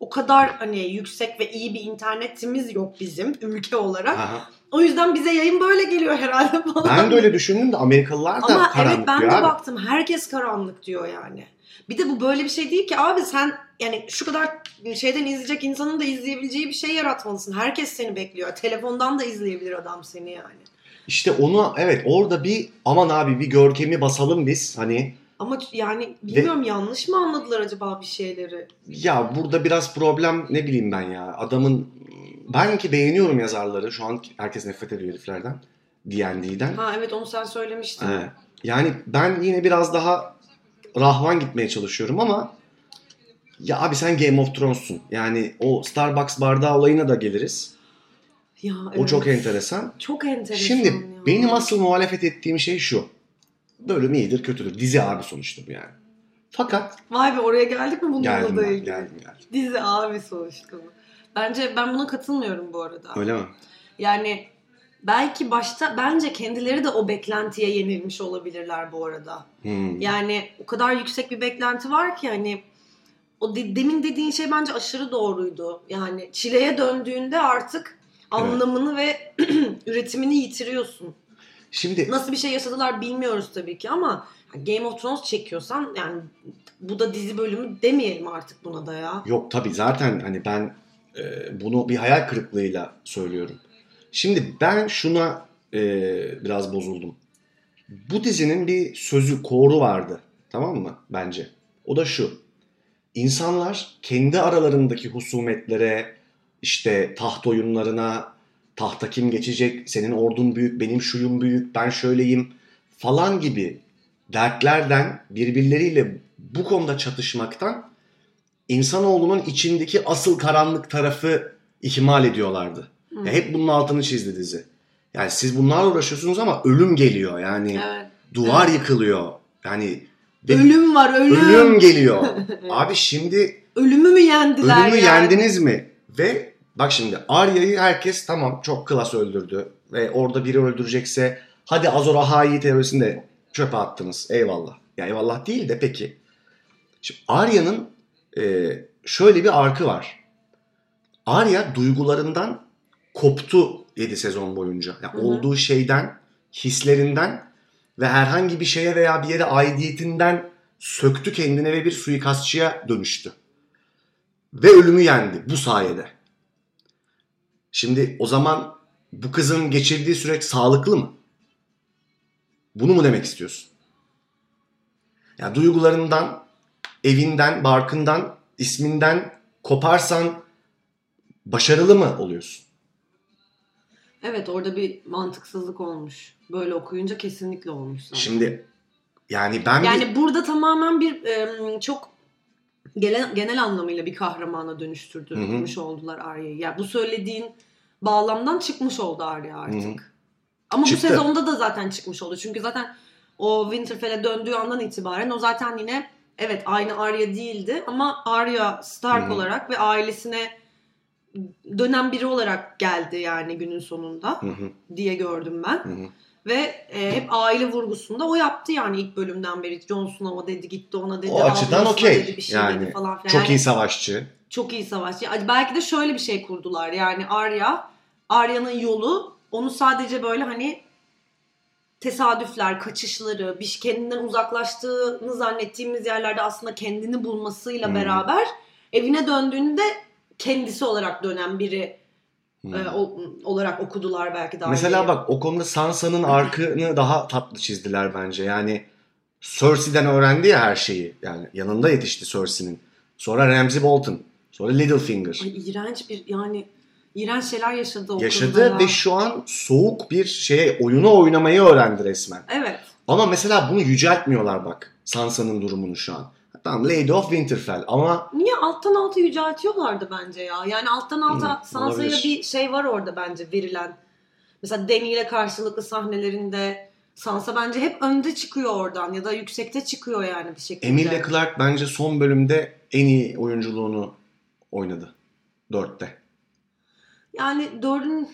[SPEAKER 2] o kadar hani yüksek ve iyi bir internetimiz yok bizim ülke olarak.
[SPEAKER 1] Aha.
[SPEAKER 2] O yüzden bize yayın böyle geliyor herhalde falan.
[SPEAKER 1] Ben de öyle düşündüm de Amerikalılar da
[SPEAKER 2] Ama
[SPEAKER 1] karanlık
[SPEAKER 2] evet ben de
[SPEAKER 1] diyor abi.
[SPEAKER 2] baktım herkes karanlık diyor yani. Bir de bu böyle bir şey değil ki abi sen yani şu kadar şeyden izleyecek insanın da izleyebileceği bir şey yaratmalısın. Herkes seni bekliyor. Telefondan da izleyebilir adam seni yani.
[SPEAKER 1] İşte onu evet orada bir aman abi bir görkemi basalım biz. Hani
[SPEAKER 2] Ama yani bilmiyorum yanlış mı anladılar acaba bir şeyleri?
[SPEAKER 1] ya burada biraz problem ne bileyim ben ya. Adamın ben ki beğeniyorum yazarları. Şu an herkes nefret ediyor heriflerden. D&D'den.
[SPEAKER 2] Ha evet onu sen söylemiştin.
[SPEAKER 1] Ee, yani ben yine biraz daha rahvan gitmeye çalışıyorum ama ya abi sen Game of Thrones'sun. Yani o Starbucks bardağı olayına da geliriz.
[SPEAKER 2] Ya,
[SPEAKER 1] O
[SPEAKER 2] evet.
[SPEAKER 1] çok enteresan.
[SPEAKER 2] Çok enteresan.
[SPEAKER 1] Şimdi
[SPEAKER 2] ya.
[SPEAKER 1] benim asıl muhalefet ettiğim şey şu. Bölüm iyidir kötüdür. Dizi abi sonuçta bu yani. Fakat
[SPEAKER 2] Vay be oraya geldik mi bununla
[SPEAKER 1] geldim
[SPEAKER 2] da
[SPEAKER 1] ben,
[SPEAKER 2] ilgili?
[SPEAKER 1] geldim geldim.
[SPEAKER 2] Dizi abi sonuçta bu. Bence ben buna katılmıyorum bu arada.
[SPEAKER 1] Öyle mi?
[SPEAKER 2] Yani belki başta bence kendileri de o beklentiye yenilmiş olabilirler bu arada.
[SPEAKER 1] Hmm.
[SPEAKER 2] Yani o kadar yüksek bir beklenti var ki hani o de- demin dediğin şey bence aşırı doğruydu. Yani çileye döndüğünde artık anlamını ve üretimini yitiriyorsun.
[SPEAKER 1] Şimdi
[SPEAKER 2] Nasıl bir şey yaşadılar bilmiyoruz tabii ki ama hani Game of Thrones çekiyorsan yani bu da dizi bölümü demeyelim artık buna da ya.
[SPEAKER 1] Yok tabii zaten hani ben e, bunu bir hayal kırıklığıyla söylüyorum. Şimdi ben şuna e, biraz bozuldum. Bu dizinin bir sözü, koru vardı. Tamam mı? Bence. O da şu. İnsanlar kendi aralarındaki husumetlere, işte taht oyunlarına, tahta kim geçecek, senin ordun büyük, benim şuyum büyük, ben şöyleyim falan gibi dertlerden birbirleriyle bu konuda çatışmaktan insanoğlunun içindeki asıl karanlık tarafı ihmal ediyorlardı.
[SPEAKER 2] Hı.
[SPEAKER 1] Ya hep bunun altını çizdi dizi. Yani siz bunlarla uğraşıyorsunuz ama ölüm geliyor yani.
[SPEAKER 2] Hmm. Evet.
[SPEAKER 1] Duvar yıkılıyor. Yani ve
[SPEAKER 2] Ölüm var ölüm.
[SPEAKER 1] ölüm geliyor. Abi şimdi
[SPEAKER 2] Ölümü mü yendiler
[SPEAKER 1] Ölümü
[SPEAKER 2] yani?
[SPEAKER 1] yendiniz mi? Ve bak şimdi Arya'yı herkes tamam çok klas öldürdü. Ve orada biri öldürecekse hadi Azor Ahai teorisini de çöpe attınız. Eyvallah. Ya eyvallah değil de peki. Şimdi Arya'nın e, şöyle bir arkı var. Arya duygularından koptu 7 sezon boyunca. Yani
[SPEAKER 2] Hı hı.
[SPEAKER 1] olduğu şeyden, hislerinden ve herhangi bir şeye veya bir yere aidiyetinden söktü kendine ve bir suikastçıya dönüştü. Ve ölümü yendi bu sayede. Şimdi o zaman bu kızın geçirdiği süreç sağlıklı mı? Bunu mu demek istiyorsun? Yani duygularından, evinden, barkından, isminden koparsan başarılı mı oluyorsun?
[SPEAKER 2] Evet orada bir mantıksızlık olmuş. Böyle okuyunca kesinlikle olmuş. zaten.
[SPEAKER 1] Şimdi yani ben bir-
[SPEAKER 2] Yani burada tamamen bir e, çok gelen, genel anlamıyla bir kahramana dönüştürdürmüş oldular Arya'yı. Yani bu söylediğin bağlamdan çıkmış oldu Arya artık.
[SPEAKER 1] Hı hı.
[SPEAKER 2] Ama
[SPEAKER 1] Çıktı.
[SPEAKER 2] bu sezonda da zaten çıkmış oldu. Çünkü zaten o Winterfell'e döndüğü andan itibaren o zaten yine evet aynı Arya değildi ama Arya Stark
[SPEAKER 1] Hı hı.
[SPEAKER 2] olarak ve ailesine dönen biri olarak geldi yani günün sonunda
[SPEAKER 1] Hı hı,
[SPEAKER 2] diye gördüm ben.
[SPEAKER 1] hı hı.
[SPEAKER 2] Ve e, hep aile vurgusunda o yaptı yani ilk bölümden beri. Jon Snow'a dedi gitti ona dedi.
[SPEAKER 1] O açıdan
[SPEAKER 2] ablasına
[SPEAKER 1] okey.
[SPEAKER 2] dedi, Bir şey
[SPEAKER 1] Yani
[SPEAKER 2] dedi falan filan.
[SPEAKER 1] Çok
[SPEAKER 2] yani,
[SPEAKER 1] iyi savaşçı.
[SPEAKER 2] çok iyi savaşçı. Yani Belki de şöyle bir şey kurdular yani Arya, Arya'nın yolu onu sadece böyle hani tesadüfler, kaçışları, bir şey- kendinden uzaklaştığını zannettiğimiz yerlerde aslında kendini bulmasıyla
[SPEAKER 1] Hı.
[SPEAKER 2] beraber evine döndüğünde kendisi olarak dönen biri
[SPEAKER 1] Hı.
[SPEAKER 2] e, o- olarak okudular belki daha
[SPEAKER 1] Mesela
[SPEAKER 2] önce.
[SPEAKER 1] bak o konuda Sansa'nın arkını daha tatlı çizdiler bence. Yani Cersei'den öğrendi ya her şeyi. Yani yanında yetişti Cersei'nin. Sonra Ramsay Bolton. Sonra Littlefinger.
[SPEAKER 2] Ay iğrenç bir yani iğrenç şeyler yaşadı o kızla ya.
[SPEAKER 1] Yaşadı ve şu an soğuk bir şeye oyunu oynamayı öğrendi resmen.
[SPEAKER 2] Evet.
[SPEAKER 1] Ama mesela bunu yüceltmiyorlar bak Sansa'nın durumunu şu an. Tamam Lady of Winterfell ama
[SPEAKER 2] Niye alttan alta yüceltiyorlardı bence ya? Yani alttan alta
[SPEAKER 1] Hı,
[SPEAKER 2] Sansa'ya
[SPEAKER 1] Hmm, olabilir.
[SPEAKER 2] bir şey var orada bence verilen. Mesela Dany ile karşılıklı sahnelerinde Sansa bence hep önde çıkıyor oradan ya da yüksekte çıkıyor yani bir şekilde.
[SPEAKER 1] Emilia Clarke bence son bölümde en iyi oyunculuğunu oynadı. Dörtte.
[SPEAKER 2] Yani dördün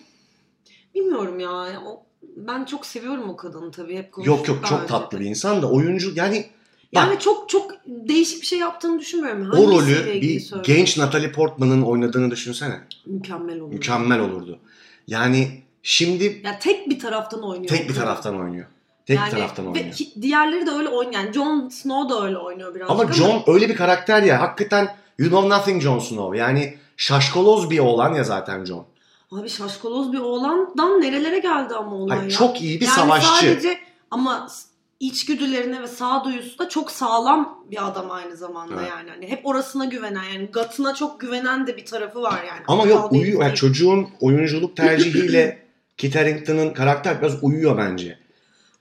[SPEAKER 2] bilmiyorum ya. O- Ben çok seviyorum o kadını tabii hep
[SPEAKER 1] Yok
[SPEAKER 2] konuştuk
[SPEAKER 1] yok
[SPEAKER 2] daha
[SPEAKER 1] çok
[SPEAKER 2] önce
[SPEAKER 1] tatlı
[SPEAKER 2] de.
[SPEAKER 1] bir insan da oyuncu yani
[SPEAKER 2] Yani çok çok değişik bir şey yaptığını düşünmüyorum.
[SPEAKER 1] O rolü
[SPEAKER 2] Hangisiyle ilgili
[SPEAKER 1] bir
[SPEAKER 2] söylüyorum?
[SPEAKER 1] genç Natalie Portman'ın oynadığını düşünsene.
[SPEAKER 2] mükemmel olur.
[SPEAKER 1] Mükemmel olurdu. Yani şimdi
[SPEAKER 2] Ya tek bir taraftan oynuyor.
[SPEAKER 1] tek bir taraftan oynuyor. Tek bir taraftan
[SPEAKER 2] ve
[SPEAKER 1] oynuyor.
[SPEAKER 2] ki- diğerleri de öyle oynuyor. Yani Jon Snow da öyle oynuyor biraz.
[SPEAKER 1] Ama Jon öyle bir karakter ya. Hakikaten you know nothing Jon Snow. Yani şaşkaloz bir oğlan ya zaten Jon.
[SPEAKER 2] Abi şaşkaloz bir oğlandan nerelere geldi ama olay
[SPEAKER 1] Hayır,
[SPEAKER 2] ya.
[SPEAKER 1] çok iyi bir
[SPEAKER 2] yani
[SPEAKER 1] savaşçı.
[SPEAKER 2] sadece ama s- içgüdülerine ve sağduyusu da çok sağlam bir adam aynı zamanda
[SPEAKER 1] Evet.
[SPEAKER 2] yani. Hani hep orasına güvenen yani gatına çok güvenen de bir tarafı var yani.
[SPEAKER 1] Ama
[SPEAKER 2] Aptal
[SPEAKER 1] yok
[SPEAKER 2] değil,
[SPEAKER 1] uyuyor. Yani
[SPEAKER 2] değil.
[SPEAKER 1] çocuğun oyunculuk tercihiyle Kit Harington'ın karakter biraz uyuyor bence.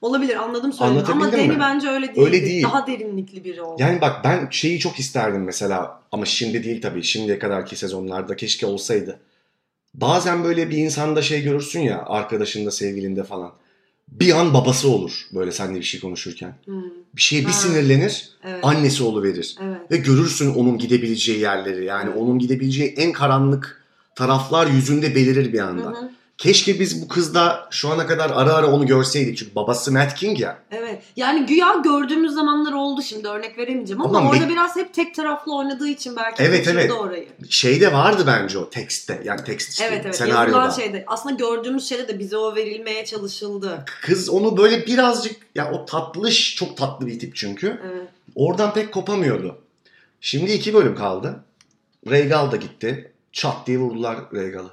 [SPEAKER 2] Olabilir anladım söylediğini ama
[SPEAKER 1] Anlatabildim
[SPEAKER 2] Dany
[SPEAKER 1] mi?
[SPEAKER 2] bence öyle değil.
[SPEAKER 1] Öyle değil.
[SPEAKER 2] Daha derinlikli biri oldu.
[SPEAKER 1] Yani bak ben şeyi çok isterdim mesela ama şimdi değil tabii şimdiye kadarki sezonlarda keşke olsaydı. Bazen böyle bir insanda şey görürsün ya arkadaşında sevgilinde falan. Bir an babası olur böyle seninle bir şey konuşurken.
[SPEAKER 2] Hmm,
[SPEAKER 1] Bir şeye bir
[SPEAKER 2] Ha.
[SPEAKER 1] sinirlenir
[SPEAKER 2] evet.
[SPEAKER 1] annesi oluverir.
[SPEAKER 2] evet.
[SPEAKER 1] Ve görürsün onun gidebileceği yerleri yani onun gidebileceği en karanlık taraflar yüzünde belirir bir
[SPEAKER 2] Hı
[SPEAKER 1] anda.
[SPEAKER 2] hı.
[SPEAKER 1] Keşke biz bu kızda şu ana kadar ara ara onu görseydik çünkü babası Matt King ya.
[SPEAKER 2] Evet. Yani güya gördüğümüz zamanlar oldu şimdi örnek veremeyeceğim ama,
[SPEAKER 1] Ama
[SPEAKER 2] orada
[SPEAKER 1] me-
[SPEAKER 2] biraz hep tek taraflı oynadığı için belki
[SPEAKER 1] Evet,
[SPEAKER 2] kaçırdı
[SPEAKER 1] evet.
[SPEAKER 2] orayı.
[SPEAKER 1] Şeyde Şey vardı bence o tekste yani tekst işte,
[SPEAKER 2] Evet evet.
[SPEAKER 1] senaryoda.
[SPEAKER 2] Yazılan şey. şeyde. Aslında gördüğümüz şeyde de bize o verilmeye çalışıldı.
[SPEAKER 1] Kız onu böyle birazcık ya o tatlış çok tatlı bir tip çünkü.
[SPEAKER 2] Evet.
[SPEAKER 1] Oradan pek kopamıyordu. Şimdi iki bölüm kaldı. Regal da gitti. Çat diye vurdular Regal'ı.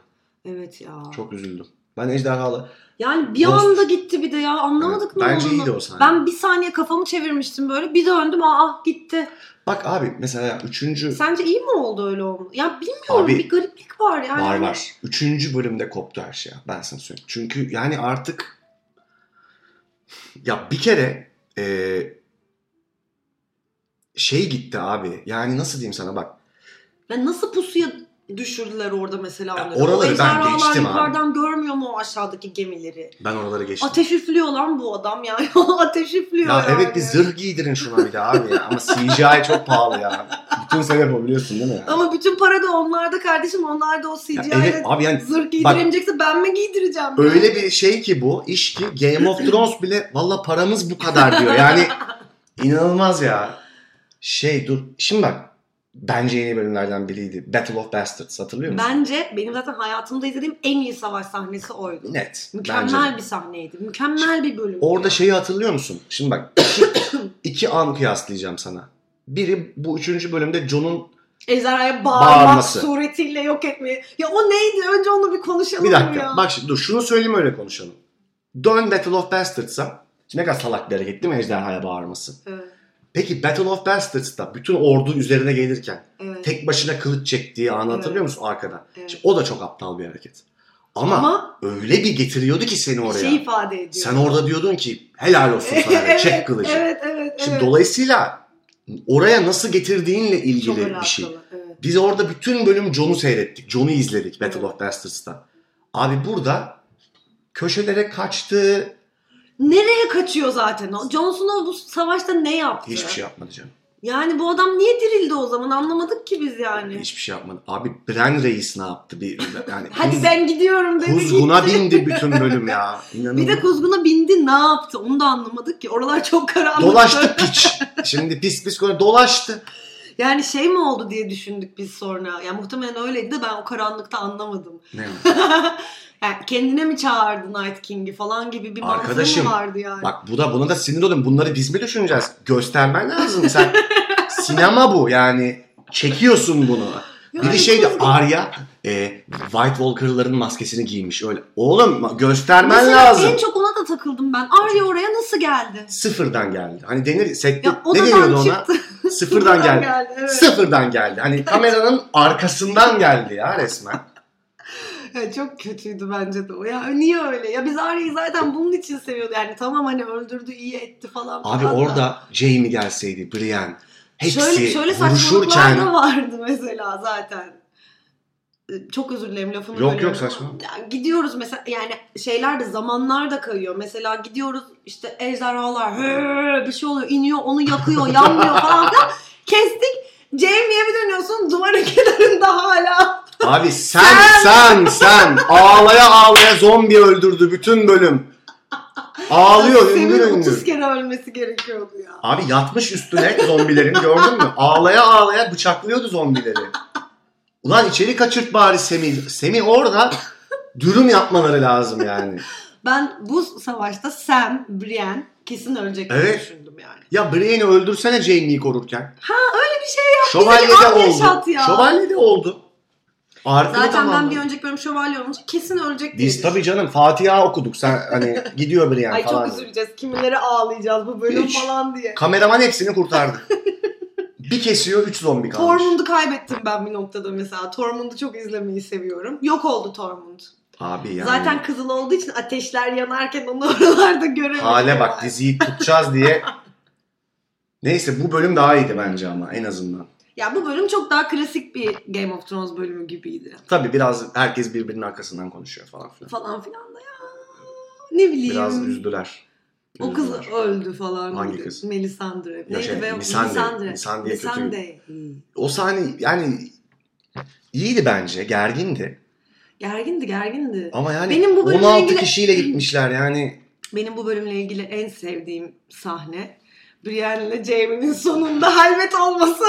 [SPEAKER 2] Evet ya.
[SPEAKER 1] Çok üzüldüm. Ben ejderhalı.
[SPEAKER 2] Yani bir
[SPEAKER 1] Ghost-
[SPEAKER 2] anda gitti bir de ya. Anlamadık
[SPEAKER 1] Evet,
[SPEAKER 2] mı
[SPEAKER 1] Bence
[SPEAKER 2] olduğunu?
[SPEAKER 1] iyiydi o sahne.
[SPEAKER 2] Ben bir saniye kafamı çevirmiştim böyle. Bir döndüm aa ah, gitti.
[SPEAKER 1] Bak abi mesela üçüncü
[SPEAKER 2] Sence iyi mi oldu öyle oldu? Ya bilmiyorum
[SPEAKER 1] Abi-
[SPEAKER 2] bir gariplik var yani.
[SPEAKER 1] var var. Üçüncü bölümde koptu her şey. Ben sana söyleyeyim. Çünkü yani artık ya bir kere eee, şey gitti abi. Yani nasıl diyeyim sana bak.
[SPEAKER 2] Ya nasıl pusuya düşürdüler orada mesela
[SPEAKER 1] Ya
[SPEAKER 2] onları?
[SPEAKER 1] oraları ben
[SPEAKER 2] o ejderhalar
[SPEAKER 1] geçtim abi.
[SPEAKER 2] yukarıdan görmüyor mu o aşağıdaki gemileri?
[SPEAKER 1] Ben oraları geçtim.
[SPEAKER 2] Ateş üflüyor lan bu adam yani. Ateş üflüyor
[SPEAKER 1] Ya
[SPEAKER 2] yani.
[SPEAKER 1] evet bir zırh giydirin şuna bir de abi ya. Ama CGI çok pahalı ya. Bütün sebep o biliyorsun değil mi? ya?
[SPEAKER 2] Ama bütün para da onlarda kardeşim. Onlarda o CGI
[SPEAKER 1] Ya
[SPEAKER 2] 'le
[SPEAKER 1] evet abi yani
[SPEAKER 2] zırh giydiremeyecekse ben mi giydireceğim? yani?
[SPEAKER 1] öyle bir şey ki bu iş ki Game of Thrones bile valla paramız bu kadar diyor. Yani inanılmaz ya. Şey dur şimdi bak bence yeni bölümlerden biriydi. Battle of Bastards hatırlıyor musun?
[SPEAKER 2] Bence benim zaten hayatımda izlediğim en iyi savaş sahnesi oydu.
[SPEAKER 1] Net. bence de.
[SPEAKER 2] Mükemmel bir sahneydi. Mükemmel bir bölüm.
[SPEAKER 1] Orada şeyi hatırlıyor musun? Şimdi bak iki, iki an kıyaslayacağım sana. Biri bu üçüncü bölümde Jon'un
[SPEAKER 2] Ejderhaya bağırmak
[SPEAKER 1] Bağırması.
[SPEAKER 2] suretiyle yok etmeyi. Ya o neydi? Önce onu bir konuşalım
[SPEAKER 1] Bir dakika.
[SPEAKER 2] ya.
[SPEAKER 1] Bak şimdi dur şunu söyleyeyim öyle konuşalım. Dön Battle of Bastards'a. Şimdi ne kadar salak bir hareket değil mi ejderhaya bağırması?
[SPEAKER 2] Evet.
[SPEAKER 1] Peki Battle of Bastards'da bütün ordu üzerine gelirken
[SPEAKER 2] evet.
[SPEAKER 1] tek başına kılıç çektiği anı hatırlıyor musun arkada?
[SPEAKER 2] Evet.
[SPEAKER 1] Şimdi o da çok aptal bir hareket. Ama,
[SPEAKER 2] Ama
[SPEAKER 1] öyle bir getiriyordu ki seni
[SPEAKER 2] bir
[SPEAKER 1] oraya.
[SPEAKER 2] şey ifade ediyor.
[SPEAKER 1] Sen orada diyordun ki helal olsun sana
[SPEAKER 2] evet,
[SPEAKER 1] çek kılıcı.
[SPEAKER 2] Evet evet.
[SPEAKER 1] Şimdi
[SPEAKER 2] evet.
[SPEAKER 1] dolayısıyla oraya nasıl getirdiğinle
[SPEAKER 2] Çok
[SPEAKER 1] ilgili bir
[SPEAKER 2] alakalı,
[SPEAKER 1] şey.
[SPEAKER 2] Evet.
[SPEAKER 1] Biz orada bütün bölüm John'u seyrettik. John'u izledik Battle
[SPEAKER 2] Evet.
[SPEAKER 1] of Bastards'ta. Abi burada köşelere kaçtı.
[SPEAKER 2] Nereye kaçıyor zaten o? Jon Snow bu savaşta ne yaptı?
[SPEAKER 1] Hiçbir şey yapmadı canım.
[SPEAKER 2] Yani bu adam niye dirildi o zaman anlamadık ki biz yani.
[SPEAKER 1] Hiçbir şey yapmadı. Abi Bren Reis ne yaptı? Bir, yani
[SPEAKER 2] Hadi
[SPEAKER 1] kuz-
[SPEAKER 2] ben gidiyorum dedi.
[SPEAKER 1] Kuzguna
[SPEAKER 2] gitti.
[SPEAKER 1] bindi bütün bölüm ya. İnanılmaz.
[SPEAKER 2] Bir de kuzguna bindi ne yaptı onu da anlamadık ki. Oralar çok karanlıktı.
[SPEAKER 1] Dolaştı piç. Şimdi pis pis konu dolaştı.
[SPEAKER 2] Yani şey mi oldu diye düşündük biz sonra. Yani muhtemelen öyleydi de ben o karanlıkta anlamadım.
[SPEAKER 1] Ne?
[SPEAKER 2] yani kendine mi çağırdı Night King'i falan gibi bir mantığı
[SPEAKER 1] Arkadaşım,
[SPEAKER 2] mı vardı yani?
[SPEAKER 1] Bak bu da buna da sinir oldum. Bunları biz mi düşüneceğiz? Göstermen lazım sen. Sinema bu yani. Çekiyorsun bunu.
[SPEAKER 2] Yani
[SPEAKER 1] Bir şey de şeydi
[SPEAKER 2] kuzgun-
[SPEAKER 1] Arya e, White Walker'ların maskesini giymiş öyle. Oğlum ma- göstermen
[SPEAKER 2] Mesela
[SPEAKER 1] lazım.
[SPEAKER 2] en çok ona da takıldım ben. Arya oraya nasıl geldi?
[SPEAKER 1] Sıfırdan geldi. Hani denir sekte
[SPEAKER 2] Ya
[SPEAKER 1] ne
[SPEAKER 2] odadan
[SPEAKER 1] deniyordu ona?
[SPEAKER 2] çıktı.
[SPEAKER 1] Sıfırdan geldi.
[SPEAKER 2] evet.
[SPEAKER 1] Sıfırdan geldi. Hani kameranın arkasından geldi ya resmen.
[SPEAKER 2] Ya E, çok kötüydü bence de o. Ya niye öyle? Ya biz Arya'yı zaten bunun için seviyorduk. Yani tamam hani öldürdü, iyi etti falan.
[SPEAKER 1] Abi
[SPEAKER 2] filan da.
[SPEAKER 1] orada Jamie gelseydi, Brienne hepsi
[SPEAKER 2] şöyle, şöyle saçmalıklar
[SPEAKER 1] vuruşurken
[SPEAKER 2] da vardı mesela zaten. Ee, Çok özür dilerim lafını
[SPEAKER 1] Yok,
[SPEAKER 2] bölüyorum
[SPEAKER 1] yok, saçma.
[SPEAKER 2] ama ya gidiyoruz mesela yani şeyler de zamanlar da kayıyor. Mesela gidiyoruz işte ejderhalar "Hıı!" bir şey oluyor iniyor onu yakıyor yanmıyor falan filan. Kestik. Jamie'ye bir dönüyorsun duvarın kenarında hala.
[SPEAKER 1] Abi sen sen sen ağlaya ağlaya zombi öldürdü bütün bölüm. Ağlıyor
[SPEAKER 2] Senin
[SPEAKER 1] hüngür
[SPEAKER 2] 30
[SPEAKER 1] hüngür.
[SPEAKER 2] kere ölmesi gerekiyordu ya.
[SPEAKER 1] Abi yatmış üstüne zombilerin gördün mü? Ağlaya ağlaya bıçaklıyordu zombileri. Ulan içeri kaçırt bari Semih. Semih orada dürüm yapmaları lazım yani.
[SPEAKER 2] Ben bu savaşta Sam, Brienne kesin ölecek diye
[SPEAKER 1] Evet.
[SPEAKER 2] düşündüm yani.
[SPEAKER 1] Ya Brienne'i öldürsene Jaime'yi korurken.
[SPEAKER 2] Ha öyle bir şey
[SPEAKER 1] Şövalye'de
[SPEAKER 2] an
[SPEAKER 1] oldu.
[SPEAKER 2] yaşat ya.
[SPEAKER 1] Şövalye'de oldu. Arkını
[SPEAKER 2] Zaten ben
[SPEAKER 1] tamamladı.
[SPEAKER 2] bir önceki bölüm şövalye olunca kesin ölecek diye
[SPEAKER 1] Biz tabii
[SPEAKER 2] düşündüm.
[SPEAKER 1] canım Fatiha okuduk. Sen hani gidiyor biri yani
[SPEAKER 2] Ay
[SPEAKER 1] falan.
[SPEAKER 2] çok üzüleceğiz. Kimileri ağlayacağız bu bölüm
[SPEAKER 1] Hiç.
[SPEAKER 2] falan diye.
[SPEAKER 1] Kameraman hepsini kurtardı. bir kesiyor 3 zombi kalmış.
[SPEAKER 2] Tormund'u kaybettim ben bir noktada mesela. Tormund'u çok izlemeyi seviyorum. Yok oldu Tormund.
[SPEAKER 1] Abi yani.
[SPEAKER 2] Zaten kızıl olduğu için ateşler yanarken onu oralarda göremiyorum.
[SPEAKER 1] hale bak diziyi tutacağız diye. Neyse bu bölüm daha iyiydi bence ama en azından.
[SPEAKER 2] Ya bu bölüm çok daha klasik bir Game of Thrones bölümü gibiydi.
[SPEAKER 1] Tabii biraz herkes birbirinin arkasından konuşuyor falan filan.
[SPEAKER 2] Falan filan da ya. Ne bileyim.
[SPEAKER 1] Biraz üzdüler.
[SPEAKER 2] O kız
[SPEAKER 1] Üzdüler.
[SPEAKER 2] öldü falan.
[SPEAKER 1] Hangi kız?
[SPEAKER 2] Melisandre.
[SPEAKER 1] Ya şey,
[SPEAKER 2] be?
[SPEAKER 1] Missandei. Missandei kötü.
[SPEAKER 2] Missandei. Hı.
[SPEAKER 1] O sahne yani iyiydi bence. Gergindi.
[SPEAKER 2] Gergindi gergindi.
[SPEAKER 1] Ama yani
[SPEAKER 2] Benim bu bölümle
[SPEAKER 1] 16
[SPEAKER 2] ilgili-
[SPEAKER 1] kişiyle gitmişler yani.
[SPEAKER 2] Benim bu bölümle ilgili en sevdiğim sahne Brienne ile Jaime'nin sonunda halvet olması.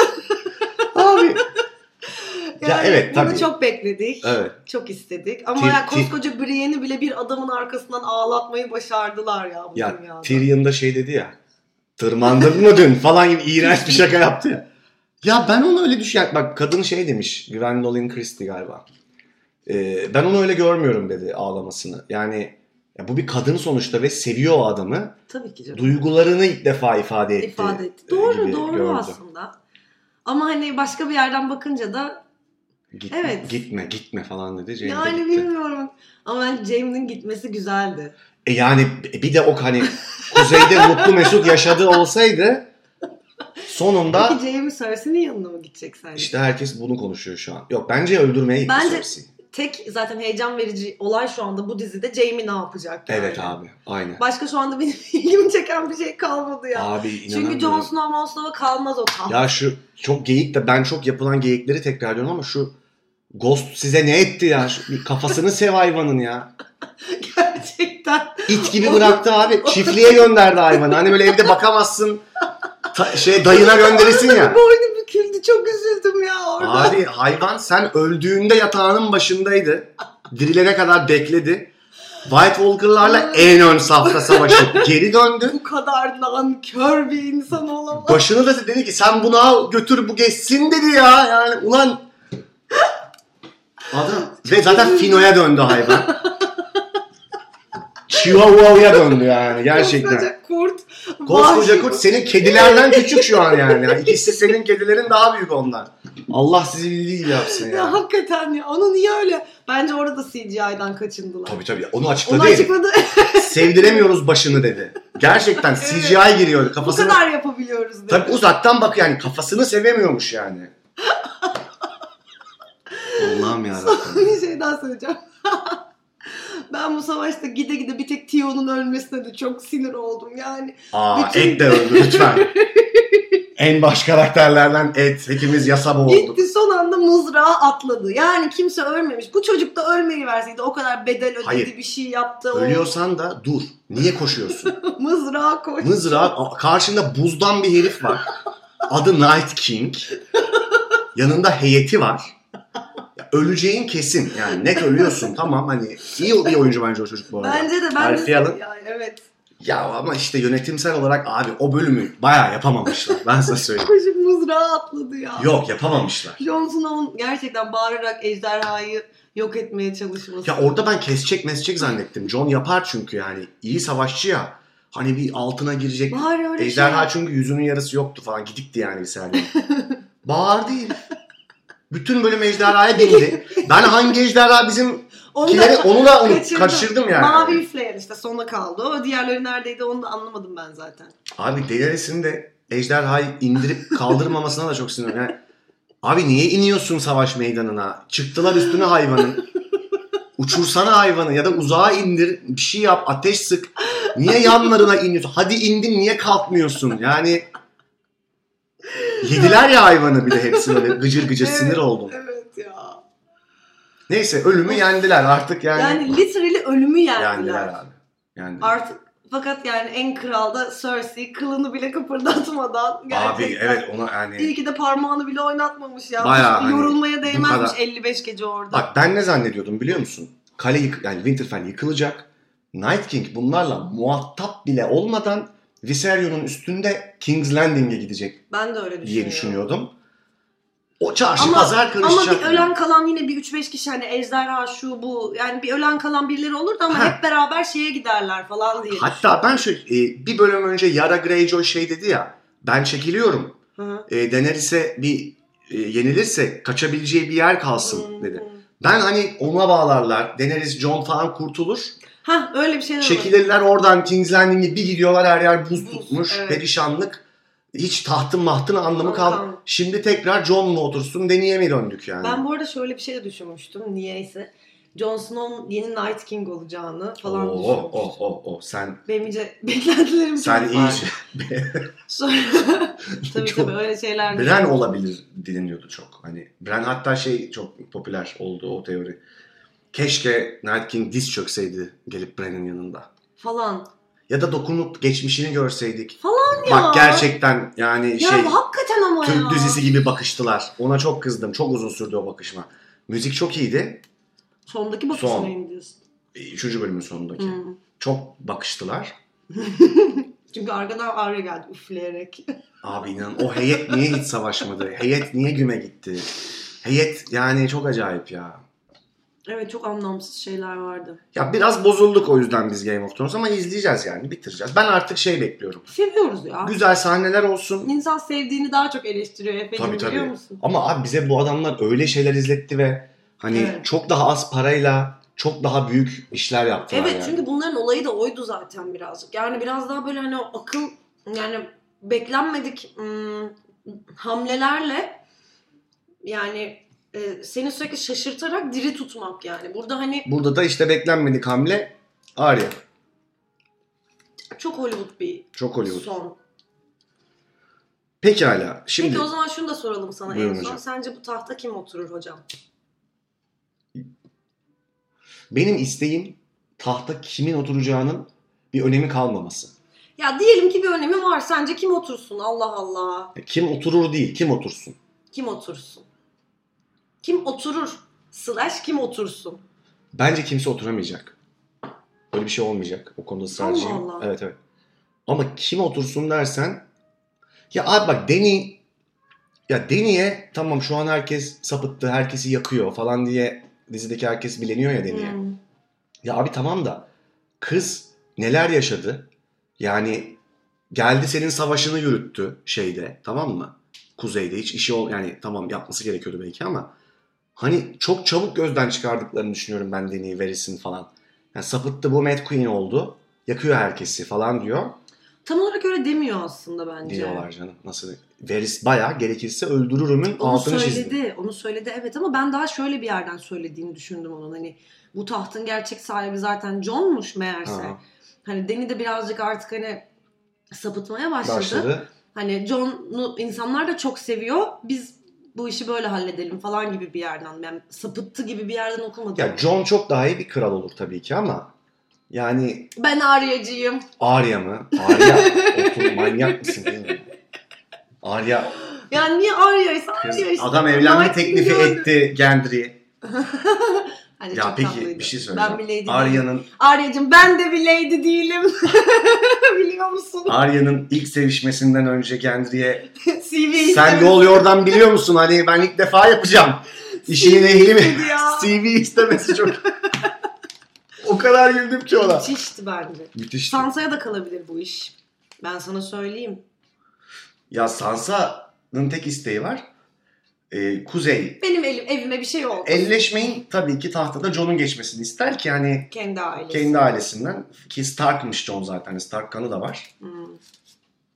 [SPEAKER 1] Abi.
[SPEAKER 2] Yani
[SPEAKER 1] Ya evet,
[SPEAKER 2] bunu
[SPEAKER 1] tabii.
[SPEAKER 2] çok bekledik.
[SPEAKER 1] Evet.
[SPEAKER 2] Çok istedik. Ama
[SPEAKER 1] Ti-
[SPEAKER 2] ya
[SPEAKER 1] ti-
[SPEAKER 2] koskoca Brienne'i bile bir adamın arkasından ağlatmayı başardılar ya bu
[SPEAKER 1] Ya
[SPEAKER 2] dünyada.
[SPEAKER 1] Tyrion da şey dedi ya. Tırmandın mı dün falan gibi iğrenç bir şaka yaptı ya. Ya ben onu öyle düşün... Bak kadın şey demiş. Gwendolyn Christie galiba. Ee, ben onu öyle görmüyorum dedi ağlamasını. Yani ya bu bir kadın sonuçta ve seviyor o adamı.
[SPEAKER 2] Tabii ki canım.
[SPEAKER 1] Duygularını ilk defa ifade etti.
[SPEAKER 2] ifade etti.
[SPEAKER 1] gibi
[SPEAKER 2] Doğru doğru
[SPEAKER 1] gördü.
[SPEAKER 2] aslında. Ama hani başka bir yerden bakınca da
[SPEAKER 1] Git,
[SPEAKER 2] Evet.
[SPEAKER 1] Gitme gitme falan dedi. Jane de
[SPEAKER 2] yani
[SPEAKER 1] gitti.
[SPEAKER 2] bilmiyorum. Ama ben Jamie'nin gitmesi güzeldi.
[SPEAKER 1] E yani bir de o hani kuzeyde mutlu mesut yaşadığı olsaydı sonunda
[SPEAKER 2] Peki Jamie Cersei'nin yanına mı gidecek sence?
[SPEAKER 1] İşte herkes bunu konuşuyor şu an. Yok bence öldürmeye gitti
[SPEAKER 2] Bence-
[SPEAKER 1] Cersei.
[SPEAKER 2] Tek zaten heyecan verici olay şu anda bu dizide Jamie ne yapacak yani.
[SPEAKER 1] Evet abi. Aynen.
[SPEAKER 2] Başka şu anda benim ilgimi çeken bir şey kalmadı ya.
[SPEAKER 1] Abi inanamıyorum.
[SPEAKER 2] Çünkü Jon Snow Jon Snow'a kalmaz o taht.
[SPEAKER 1] Ya şu çok geyik de ben çok yapılan geyikleri tekrarlıyorum ama şu Ghost size ne etti ya? Şu, bir kafasını sev hayvanın ya.
[SPEAKER 2] Gerçekten.
[SPEAKER 1] İt gibi bıraktı abi. Çiftliğe gönderdi hayvanı. Hani böyle evde bakamazsın. Ta- şey dayına gönderirsin ya.
[SPEAKER 2] Boynu büküldü. Çok üzüldüm ya orada.
[SPEAKER 1] Abi hayvan sen öldüğünde yatağının başındaydı. Dirilene kadar bekledi. White Walker'larla en ön safta savaşıp geri döndü.
[SPEAKER 2] Bu kadar nankör bir insan olamaz.
[SPEAKER 1] Başını da dedi ki sen bunu al götür bu geçsin dedi ya. Yani ulan adam ve zaten Fino'ya döndü hayvan. Chihuahua'ya döndü yani gerçekten.
[SPEAKER 2] Koskoca
[SPEAKER 1] Koskoca kurt senin kedilerden küçük şu an yani. yani. İkisi senin kedilerin daha büyük ondan. Allah sizi bildiği yapsın
[SPEAKER 2] Ya
[SPEAKER 1] ya.
[SPEAKER 2] hakikaten ya. Onu niye öyle? Bence orada CGI'dan kaçındılar.
[SPEAKER 1] Tabii tabii onu
[SPEAKER 2] Onu
[SPEAKER 1] açıkladı. herif.
[SPEAKER 2] açıkladı.
[SPEAKER 1] Sevdiremiyoruz başını dedi. Gerçekten CGI giriyor
[SPEAKER 2] Bu
[SPEAKER 1] kafasını.
[SPEAKER 2] kadar yapabiliyoruz dedi.
[SPEAKER 1] Tabii uzaktan bak yani kafasını sevemiyormuş yani. Allah'ım yarabbim.
[SPEAKER 2] bir şey daha söyleyeceğim. ben bu savaşta gide gide bir tek Tio'nun ölmesine de çok sinir oldum. Yani
[SPEAKER 1] Aa
[SPEAKER 2] Bütün-
[SPEAKER 1] et de öldü lütfen. en baş karakterlerden et. Hepimiz yasaba olduk.
[SPEAKER 2] gitti son anda mızrağa atladı. Yani kimse ölmemiş. Bu çocuk da ölmeyi verseydi o kadar bedel ödedi
[SPEAKER 1] Hayır.
[SPEAKER 2] bir şey yaptı.
[SPEAKER 1] Ölüyorsan da dur. Niye koşuyorsun?
[SPEAKER 2] O mızrağa koştu.
[SPEAKER 1] Mızrağı karşında buzdan bir herif var. Adı Night King. Yanında heyeti var. Ya öleceğin kesin. Yani net ölüyorsun tamam hani iyi bir oyuncu bence o çocuk bu arada.
[SPEAKER 2] Bence de ben
[SPEAKER 1] Alfie Allen.
[SPEAKER 2] de yani evet.
[SPEAKER 1] Ya ama işte yönetimsel olarak abi o bölümü bayağı yapamamışlar. Ben size söyleyeyim.
[SPEAKER 2] Koşup mızrağa atladı ya.
[SPEAKER 1] Yok yapamamışlar.
[SPEAKER 2] Jon Snow'un gerçekten bağırarak ejderhayı yok etmeye çalışması.
[SPEAKER 1] Ya orada ben kesecek mesecek zannettim. John yapar çünkü yani. iyi savaşçı ya. Hani bir altına girecek.
[SPEAKER 2] Bari öyle
[SPEAKER 1] Ejderha
[SPEAKER 2] şey.
[SPEAKER 1] çünkü yüzünün yarısı yoktu falan. Gidikti yani bir saniye. Bağır değil. Bütün bölüm ejderhaya değildi. Ben hangi ejderha bizimkileri
[SPEAKER 2] Onu da-
[SPEAKER 1] onu da onu
[SPEAKER 2] kaçırdım.
[SPEAKER 1] kaçırdım yani.
[SPEAKER 2] Mavi üfleyen işte sona kaldı. O diğerleri neredeydi onu da anlamadım ben zaten.
[SPEAKER 1] Abi Daenerys'in de ejderhayı indirip kaldırmamasına da çok sinirim. Yani, abi niye iniyorsun savaş meydanına? Çıktılar üstüne hayvanın. Uçursana hayvanı ya da uzağa indir bir şey yap ateş sık. Niye yanlarına iniyorsun? Hadi indin niye kalkmıyorsun? Yani yediler ya hayvanı bir de hepsi böyle gıcır gıcır
[SPEAKER 2] Evet.
[SPEAKER 1] sinir oldum.
[SPEAKER 2] Evet ya.
[SPEAKER 1] Neyse ölümü yendiler artık yani.
[SPEAKER 2] Yani literally ölümü
[SPEAKER 1] yendiler
[SPEAKER 2] yendiler.
[SPEAKER 1] abi. Yani.
[SPEAKER 2] Artık fakat yani en kralda Cersei kılını bile kıpırdatmadan gerçekten.
[SPEAKER 1] Abi evet ona yani.
[SPEAKER 2] İyi ki de parmağını bile oynatmamış ya.
[SPEAKER 1] Bayağı hani
[SPEAKER 2] Yorulmaya değmezmiş
[SPEAKER 1] kadar-
[SPEAKER 2] 55 gece orada.
[SPEAKER 1] Bak ben ne zannediyordum biliyor musun? Kale yık yani Winterfell yıkılacak. Night King bunlarla muhatap bile olmadan Viseryon'un üstünde King's Landing'e gidecek
[SPEAKER 2] ben de öyle düşünüyorum.
[SPEAKER 1] diye düşünüyordum. O çarşı
[SPEAKER 2] Şey Ama-
[SPEAKER 1] pazar
[SPEAKER 2] Ama
[SPEAKER 1] karışacak.
[SPEAKER 2] bir ölen kalan yine bir 3-5 kişi hani ejderha şu bu yani bir ölen kalan birileri olur da ama
[SPEAKER 1] Ha.
[SPEAKER 2] hep beraber şeye giderler falan diye.
[SPEAKER 1] Hatta ben şu e, bir bölüm önce Yara Greyjoy şey dedi ya ben çekiliyorum.
[SPEAKER 2] Hı.
[SPEAKER 1] E, Daenerys'e bir e, yenilirse kaçabileceği bir yer kalsın dedi. Ben hani ona bağlarlar. Daenerys, Jon falan kurtulur.
[SPEAKER 2] Ha öyle bir şeyler olur.
[SPEAKER 1] Çekilirler oradan King's Landing'i bir gidiyorlar her yer buz
[SPEAKER 2] Buz,
[SPEAKER 1] tutmuş.
[SPEAKER 2] evet.
[SPEAKER 1] Perişanlık. Hiç tahtın mahtın anlamı
[SPEAKER 2] Tamam,
[SPEAKER 1] kalmadı.
[SPEAKER 2] tamam.
[SPEAKER 1] Şimdi tekrar John'la otursun deneye mi döndük yani?
[SPEAKER 2] Ben bu arada şöyle bir şey de düşünmüştüm niyeyse. Jon Snow'un yeni Night King olacağını falan
[SPEAKER 1] Oo,
[SPEAKER 2] düşünmüştüm.
[SPEAKER 1] oo, oo, oo. Sen,
[SPEAKER 2] Benim iyice beklentilerim
[SPEAKER 1] sen
[SPEAKER 2] çok
[SPEAKER 1] iyi şey-
[SPEAKER 2] farklı. Sonra- tabii
[SPEAKER 1] Çok-
[SPEAKER 2] tabii öyle şeyler.
[SPEAKER 1] Bren olabilir deniliyordu çok. Hani Bren hatta şey çok popüler oldu o teori. Keşke Night King diz çökseydi gelip Bren'in yanında.
[SPEAKER 2] Falan.
[SPEAKER 1] Ya da dokunup geçmişini görseydik.
[SPEAKER 2] Falan ya.
[SPEAKER 1] Bak gerçekten yani
[SPEAKER 2] Ya
[SPEAKER 1] şey...
[SPEAKER 2] hakikaten ama ya.
[SPEAKER 1] Türk dizisi gibi bakıştılar. Ona çok kızdım. Çok uzun sürdü o bakışma. Müzik çok iyiydi.
[SPEAKER 2] Sondaki bakışına
[SPEAKER 1] Son.
[SPEAKER 2] Son. diyorsun.
[SPEAKER 1] E, Üçüncü bölümün sonundaki.
[SPEAKER 2] Hı.
[SPEAKER 1] Çok bakıştılar.
[SPEAKER 2] Çünkü arkadan Arya geldi üfleyerek.
[SPEAKER 1] Abi inan o heyet niye hiç savaşmadı? Heyet niye güme gitti? Heyet yani çok acayip ya.
[SPEAKER 2] evet çok anlamsız şeyler vardı.
[SPEAKER 1] Ya biraz bozulduk o yüzden biz Game of Thrones ama izleyeceğiz yani bitireceğiz. Ben artık şey bekliyorum.
[SPEAKER 2] Seviyoruz ya.
[SPEAKER 1] Güzel sahneler olsun.
[SPEAKER 2] İnsan sevdiğini daha çok eleştiriyor efendim
[SPEAKER 1] Tabii,
[SPEAKER 2] biliyor
[SPEAKER 1] tabii.
[SPEAKER 2] musun?
[SPEAKER 1] Ama abi bize bu adamlar öyle şeyler izletti ve hani
[SPEAKER 2] Evet.
[SPEAKER 1] çok daha az parayla çok daha büyük işler yaptılar
[SPEAKER 2] Evet
[SPEAKER 1] yani.
[SPEAKER 2] çünkü bunların olayı da oydu zaten birazcık. Yani biraz daha böyle hani o akıl yani beklenmedik ım, hamlelerle yani e, seni sürekli şaşırtarak diri tutmak yani. Burada hani
[SPEAKER 1] Burada da işte beklenmedik hamle Arya.
[SPEAKER 2] çok Hollywood bir
[SPEAKER 1] Çok Hollywood.
[SPEAKER 2] son.
[SPEAKER 1] Pekala. Şimdi
[SPEAKER 2] Peki o zaman şunu da soralım sana en
[SPEAKER 1] Buyurun
[SPEAKER 2] son.
[SPEAKER 1] hocam.
[SPEAKER 2] Sence bu tahta kim oturur hocam?
[SPEAKER 1] benim isteğim tahta kimin oturacağının bir önemi kalmaması.
[SPEAKER 2] Ya diyelim ki bir önemi var. Sence kim otursun? Allah Allah.
[SPEAKER 1] Kim oturur değil, kim otursun.
[SPEAKER 2] Kim otursun? Kim oturur? Slash kim otursun?
[SPEAKER 1] Bence kimse oturamayacak. Böyle bir şey olmayacak. O konuda ısrarcıyım.
[SPEAKER 2] Allah Allah.
[SPEAKER 1] Evet evet. Ama kim otursun dersen ya abi bak Deni ya Deni'ye tamam şu an herkes sapıttı, herkesi yakıyor falan diye dizideki herkes bileniyor ya Deni'ye.
[SPEAKER 2] Hmm.
[SPEAKER 1] Ya abi tamam da kız neler yaşadı? Yani Geldi senin savaşını yürüttü şeyde tamam mı? Kuzeyde hiç işi ol yani tamam yapması gerekiyordu belki ama hani çok çabuk gözden çıkardıklarını düşünüyorum ben Deni Veris'in falan. Yani sapıttı bu Mad Queen oldu. Yakıyor herkesi falan diyor.
[SPEAKER 2] Tam olarak öyle demiyor aslında bence.
[SPEAKER 1] Diyorlar canım. Nasıl? Veris bayağı gerekirse öldürürümün
[SPEAKER 2] Onu
[SPEAKER 1] altını
[SPEAKER 2] söyledi,
[SPEAKER 1] çizdi.
[SPEAKER 2] onu söyledi evet ama ben daha şöyle bir yerden söylediğini düşündüm onun hani bu tahtın gerçek sahibi zaten John'muş meğerse.
[SPEAKER 1] Ha,
[SPEAKER 2] Hani Deni de birazcık artık hani sapıtmaya başladı.
[SPEAKER 1] başladı.
[SPEAKER 2] Hani John'u insanlar da çok seviyor. Biz bu işi böyle halledelim falan gibi bir yerden. Yani sapıttı gibi bir yerden okumadım.
[SPEAKER 1] Ya John çok daha iyi bir kral olur tabii ki ama yani
[SPEAKER 2] Ben Arya'cıyım.
[SPEAKER 1] Arya mı? Arya otur manyak mısın? değil mi? Arya
[SPEAKER 2] Yani niye Arya'ysa
[SPEAKER 1] kız,
[SPEAKER 2] Arya işte.
[SPEAKER 1] adam evlenme
[SPEAKER 2] Knight
[SPEAKER 1] teklifi
[SPEAKER 2] biliyordu.
[SPEAKER 1] etti Gendry'e.
[SPEAKER 2] Hani
[SPEAKER 1] Ya
[SPEAKER 2] çok
[SPEAKER 1] peki
[SPEAKER 2] tatlıydı.
[SPEAKER 1] bir şey
[SPEAKER 2] Ben bir
[SPEAKER 1] söyleyeceğim.
[SPEAKER 2] lady değilim.
[SPEAKER 1] Arya'nın
[SPEAKER 2] Arya'cığım ben de bir lady değilim. Biliyor musun?
[SPEAKER 1] Arya'nın ilk sevişmesinden önce Gendry'e
[SPEAKER 2] CV'yi
[SPEAKER 1] Sen yol yordan biliyor musun? Hani ben ilk defa yapacağım. İşinin
[SPEAKER 2] CV
[SPEAKER 1] ehli mi?
[SPEAKER 2] istedi ya.
[SPEAKER 1] CV istemesi çok. o kadar güldüm ki ona.
[SPEAKER 2] Müthişti bence.
[SPEAKER 1] Müthiş.
[SPEAKER 2] Sansa'ya da kalabilir bu iş. Ben sana söyleyeyim.
[SPEAKER 1] Ya Sansa'nın tek isteği var. Ee, kuzey.
[SPEAKER 2] Benim elim, evime bir şey oldu.
[SPEAKER 1] Elleşmeyin tabii ki tahtada Jon'un geçmesini ister ki hani
[SPEAKER 2] Kendi ailesi.
[SPEAKER 1] kendi ailesinden ki Stark'mış Jon zaten. Hani Stark kanı da var.
[SPEAKER 2] Hmm.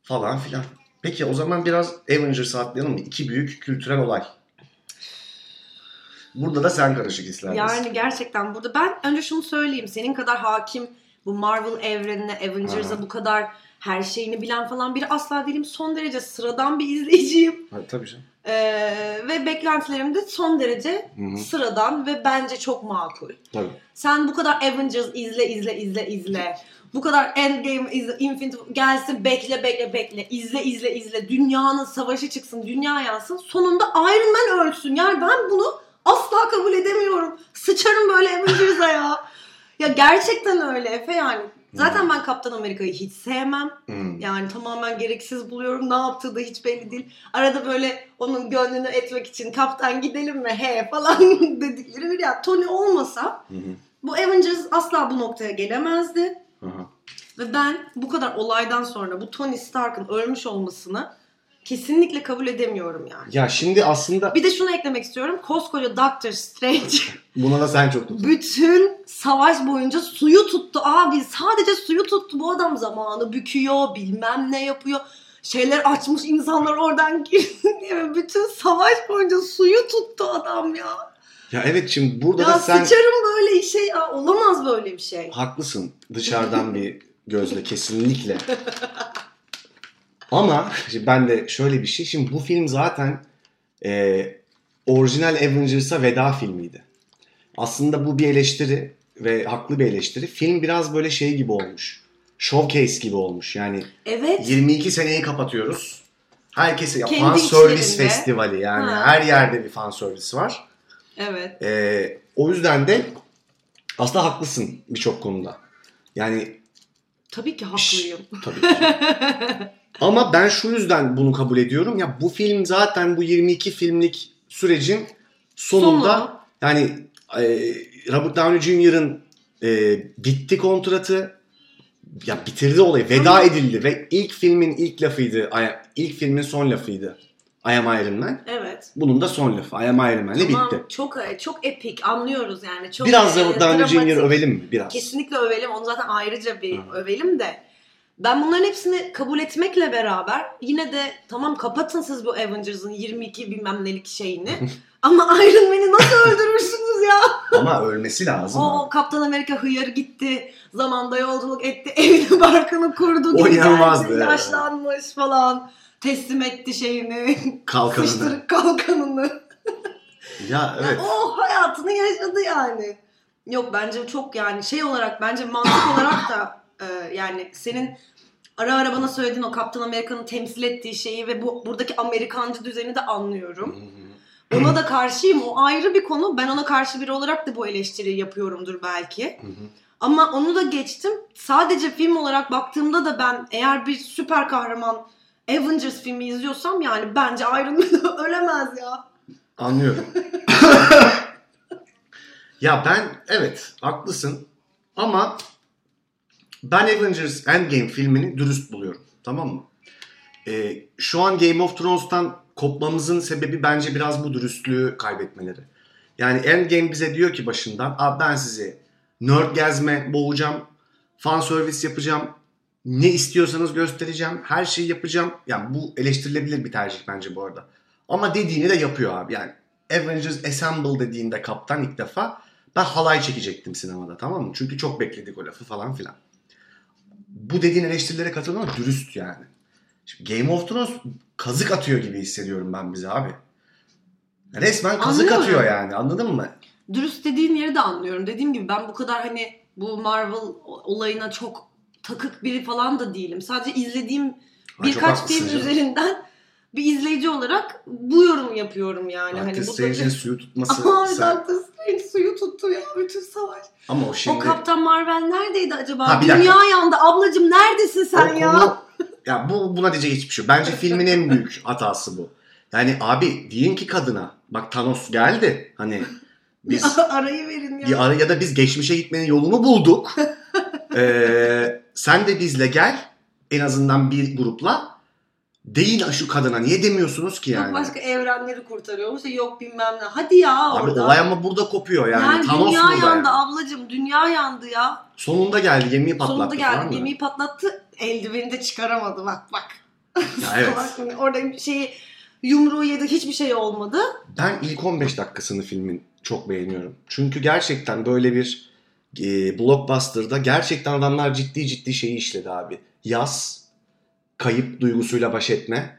[SPEAKER 1] Falan filan. Peki o zaman biraz Avengers'ı atlayalım mı? İki büyük kültürel olay. Burada da sen karışık hislerdesin.
[SPEAKER 2] Yani gerçekten burada ben önce şunu söyleyeyim. Senin kadar hakim bu Marvel evrenine, Avengers'a
[SPEAKER 1] Aha.
[SPEAKER 2] bu kadar her şeyini bilen falan biri asla değilim. Son derece sıradan bir izleyiciyim.
[SPEAKER 1] Ha, tabii canım.
[SPEAKER 2] Ee, ve beklentilerim de son derece
[SPEAKER 1] Hı hı,
[SPEAKER 2] sıradan ve bence çok makul.
[SPEAKER 1] Tabii.
[SPEAKER 2] Sen bu kadar Avengers izle izle izle izle. Bu kadar Endgame izle, Infinity gelsin bekle bekle bekle. izle izle izle. Dünyanın savaşı çıksın, dünya yansın. Sonunda Iron Man ölsün. Yani ben bunu asla kabul edemiyorum. Sıçarım böyle Avengers'a ya. Ya gerçekten öyle Efe yani. Zaten ben Kaptan Amerika'yı hiç sevmem.
[SPEAKER 1] Hmm.
[SPEAKER 2] Yani tamamen gereksiz buluyorum. Ne yaptığı da hiç belli değil. Arada böyle onun gönlünü etmek için kaptan gidelim mi he falan dedikleri bir ya. Tony olmasa
[SPEAKER 1] Hı hı.
[SPEAKER 2] bu Avengers asla bu noktaya gelemezdi.
[SPEAKER 1] Aha.
[SPEAKER 2] Ve ben bu kadar olaydan sonra bu Tony Stark'ın ölmüş olmasını kesinlikle kabul edemiyorum yani.
[SPEAKER 1] Ya şimdi aslında
[SPEAKER 2] Bir de şunu eklemek istiyorum. Koskoca Doctor Strange
[SPEAKER 1] buna da sen çok tuttun.
[SPEAKER 2] bütün savaş boyunca suyu tuttu abi. Sadece suyu tuttu. Bu adam zamanı büküyor, bilmem ne yapıyor. Şeyler açmış insanlar oradan girsin diye. Ve Bütün savaş boyunca suyu tuttu adam ya.
[SPEAKER 1] Ya evet şimdi burada
[SPEAKER 2] ya
[SPEAKER 1] da sen
[SPEAKER 2] sıçarım böyle işe ya. Olamaz böyle bir şey.
[SPEAKER 1] haklısın dışarıdan bir gözle kesinlikle. Ama şimdi ben de şöyle bir şey. Şimdi bu film zaten e, orijinal Avengers'a veda filmiydi. Aslında bu bir eleştiri ve haklı bir eleştiri. Film biraz böyle şey gibi olmuş. Showcase gibi olmuş. Yani
[SPEAKER 2] Evet.
[SPEAKER 1] 22 seneyi kapatıyoruz. Herkese ya
[SPEAKER 2] Kendi
[SPEAKER 1] fan servis
[SPEAKER 2] içlerinde.
[SPEAKER 1] festivali yani
[SPEAKER 2] Ha.
[SPEAKER 1] her yerde bir fan servis var.
[SPEAKER 2] Evet.
[SPEAKER 1] Ee, o yüzden de aslında haklısın birçok konuda. Yani
[SPEAKER 2] Tabii ki
[SPEAKER 1] Şşş.
[SPEAKER 2] haklıyım.
[SPEAKER 1] tabii ki. Ama ben şu yüzden bunu kabul ediyorum. Ya bu film zaten bu 22 filmlik sürecin sonunda
[SPEAKER 2] Sonu.
[SPEAKER 1] yani e, Robert Downey Jr.'ın e, bitti kontratı. Ya bitirdi olayı. Veda
[SPEAKER 2] Ama-
[SPEAKER 1] edildi ve ilk filmin ilk lafıydı. ay- ilk filmin son lafıydı. I am Iron Man.
[SPEAKER 2] Evet.
[SPEAKER 1] Bunun da son lafı. I am Iron Man'le
[SPEAKER 2] Tamam,
[SPEAKER 1] bitti.
[SPEAKER 2] Çok e, çok epik anlıyoruz yani. Çok
[SPEAKER 1] Biraz
[SPEAKER 2] e,
[SPEAKER 1] Robert Downey
[SPEAKER 2] dramatik.
[SPEAKER 1] Jr. övelim mi? Biraz.
[SPEAKER 2] Kesinlikle övelim. Onu zaten ayrıca bir
[SPEAKER 1] Hı.
[SPEAKER 2] övelim de. Ben bunların hepsini kabul etmekle beraber yine de tamam kapatın siz bu Avengers'ın 22 bilmem nelik şeyini. Ama Iron Man'i nasıl öldürürsünüz ya?
[SPEAKER 1] Ama ölmesi lazım. abi.
[SPEAKER 2] O Kaptan Amerika hıyar gitti. Zamanda yolculuk etti. Evini barkını kurdu.
[SPEAKER 1] O
[SPEAKER 2] geri
[SPEAKER 1] inanılmazdı,
[SPEAKER 2] geldi,
[SPEAKER 1] evet.
[SPEAKER 2] Yaşlanmış falan. Teslim etti şeyini.
[SPEAKER 1] Kalkanını.
[SPEAKER 2] Sıçtırık kalkanını.
[SPEAKER 1] Ya evet.
[SPEAKER 2] O Oh, hayatını yaşadı yani. Yok bence çok yani şey olarak bence mantık olarak da e, yani senin ara ara bana söylediğin o Kaptan Amerika'nın temsil ettiği şeyi ve bu buradaki Amerikancı düzeni de anlıyorum. Ona da karşıyım. O ayrı bir konu. Ben ona karşı biri olarak da bu eleştiriyi yapıyorumdur belki. Ama onu da geçtim. Sadece film olarak baktığımda da ben eğer bir süper kahraman Avengers filmi izliyorsam yani bence Iron Man ölemez ya.
[SPEAKER 1] Anlıyorum. ya ben evet haklısın ama ben Avengers Endgame filmini dürüst buluyorum. Tamam mı? Ee, şu an Game of Thrones'tan kopmamızın sebebi bence biraz bu dürüstlüğü kaybetmeleri. Yani Endgame bize diyor ki başından Aa, ben sizi nerd gezme boğacağım, fan servis yapacağım, ne istiyorsanız göstereceğim, her şeyi yapacağım. Yani bu eleştirilebilir bir tercih bence bu arada. Ama dediğini de yapıyor abi yani. Avengers Assemble dediğinde kaptan ilk defa ben halay çekecektim sinemada tamam mı? Çünkü çok bekledik o lafı falan filan. Bu dediğin eleştirilere katılan dürüst yani. Şimdi Game of Thrones kazık atıyor gibi hissediyorum ben bize abi. Resmen kazık
[SPEAKER 2] Anlıyorum.
[SPEAKER 1] atıyor yani anladın mı?
[SPEAKER 2] Dürüst dediğin yeri de anlıyorum. Dediğim gibi ben bu kadar hani bu Marvel olayına çok takık biri falan da değilim. Sadece izlediğim
[SPEAKER 1] Ay, çok
[SPEAKER 2] birkaç
[SPEAKER 1] haklısın
[SPEAKER 2] film
[SPEAKER 1] canım.
[SPEAKER 2] üzerinden bir izleyici olarak bu yorumu yapıyorum yani.
[SPEAKER 1] Doctor
[SPEAKER 2] hani bu
[SPEAKER 1] Strange'in suyu tutması.
[SPEAKER 2] Ama
[SPEAKER 1] sen-
[SPEAKER 2] Doctor Strange suyu tuttu ya bütün savaş.
[SPEAKER 1] Ama o şimdi...
[SPEAKER 2] O Kaptan Marvel neredeydi acaba?
[SPEAKER 1] Ha, bir
[SPEAKER 2] Dünya yandı. Ablacım neredesin
[SPEAKER 1] o
[SPEAKER 2] sen ya?
[SPEAKER 1] konu- ya bu, buna diyecek hiçbir şey yok. Bence filmin en büyük hatası bu. Yani abi deyin ki kadına bak Thanos geldi. Hani biz
[SPEAKER 2] Arayı verin ya.
[SPEAKER 1] ya, ya da biz geçmişe gitmenin yolunu bulduk. Ee, sen de bizle gel. En azından bir grupla. Deyin şu kadına niye demiyorsunuz ki yani?
[SPEAKER 2] Yok başka evrenleri kurtarıyormuş. E, Yok bilmem ne. Hadi ya
[SPEAKER 1] Abi
[SPEAKER 2] orada.
[SPEAKER 1] olay ama burada kopuyor yani. Thanos
[SPEAKER 2] dünya
[SPEAKER 1] burada
[SPEAKER 2] yandı
[SPEAKER 1] yani.
[SPEAKER 2] ablacım. Dünya yandı ya.
[SPEAKER 1] Sonunda geldi gemiyi patlattı.
[SPEAKER 2] Sonunda
[SPEAKER 1] falan
[SPEAKER 2] geldi
[SPEAKER 1] mı?
[SPEAKER 2] gemiyi patlattı. Eldiveni de çıkaramadı bak bak.
[SPEAKER 1] Ya evet.
[SPEAKER 2] Bak, hani Orada şeyi yumruğu yedi hiçbir şey olmadı.
[SPEAKER 1] Ben ilk 15 dakikasını filmin çok beğeniyorum. Çünkü gerçekten böyle bir e, blockbuster'da gerçekten adamlar ciddi ciddi şeyi işledi abi. Yaz, kayıp duygusuyla baş etme,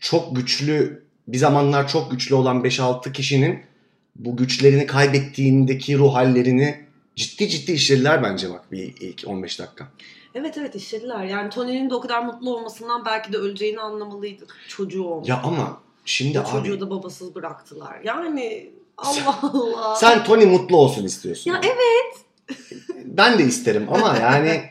[SPEAKER 1] çok güçlü, bir zamanlar çok güçlü olan 5-6 kişinin bu güçlerini kaybettiğindeki ruh hallerini ciddi ciddi işlediler bence bak bir ilk 15 dakika.
[SPEAKER 2] Evet evet işlediler. Yani Tony'nin de o kadar mutlu olmasından belki de öleceğini anlamalıydık. Çocuğu olmuş.
[SPEAKER 1] Ya ama şimdi
[SPEAKER 2] O
[SPEAKER 1] abi
[SPEAKER 2] çocuğu da babasız bıraktılar. Yani Allah Allah.
[SPEAKER 1] sen Tony mutlu olsun istiyorsun.
[SPEAKER 2] Ya evet
[SPEAKER 1] Ben de isterim ama yani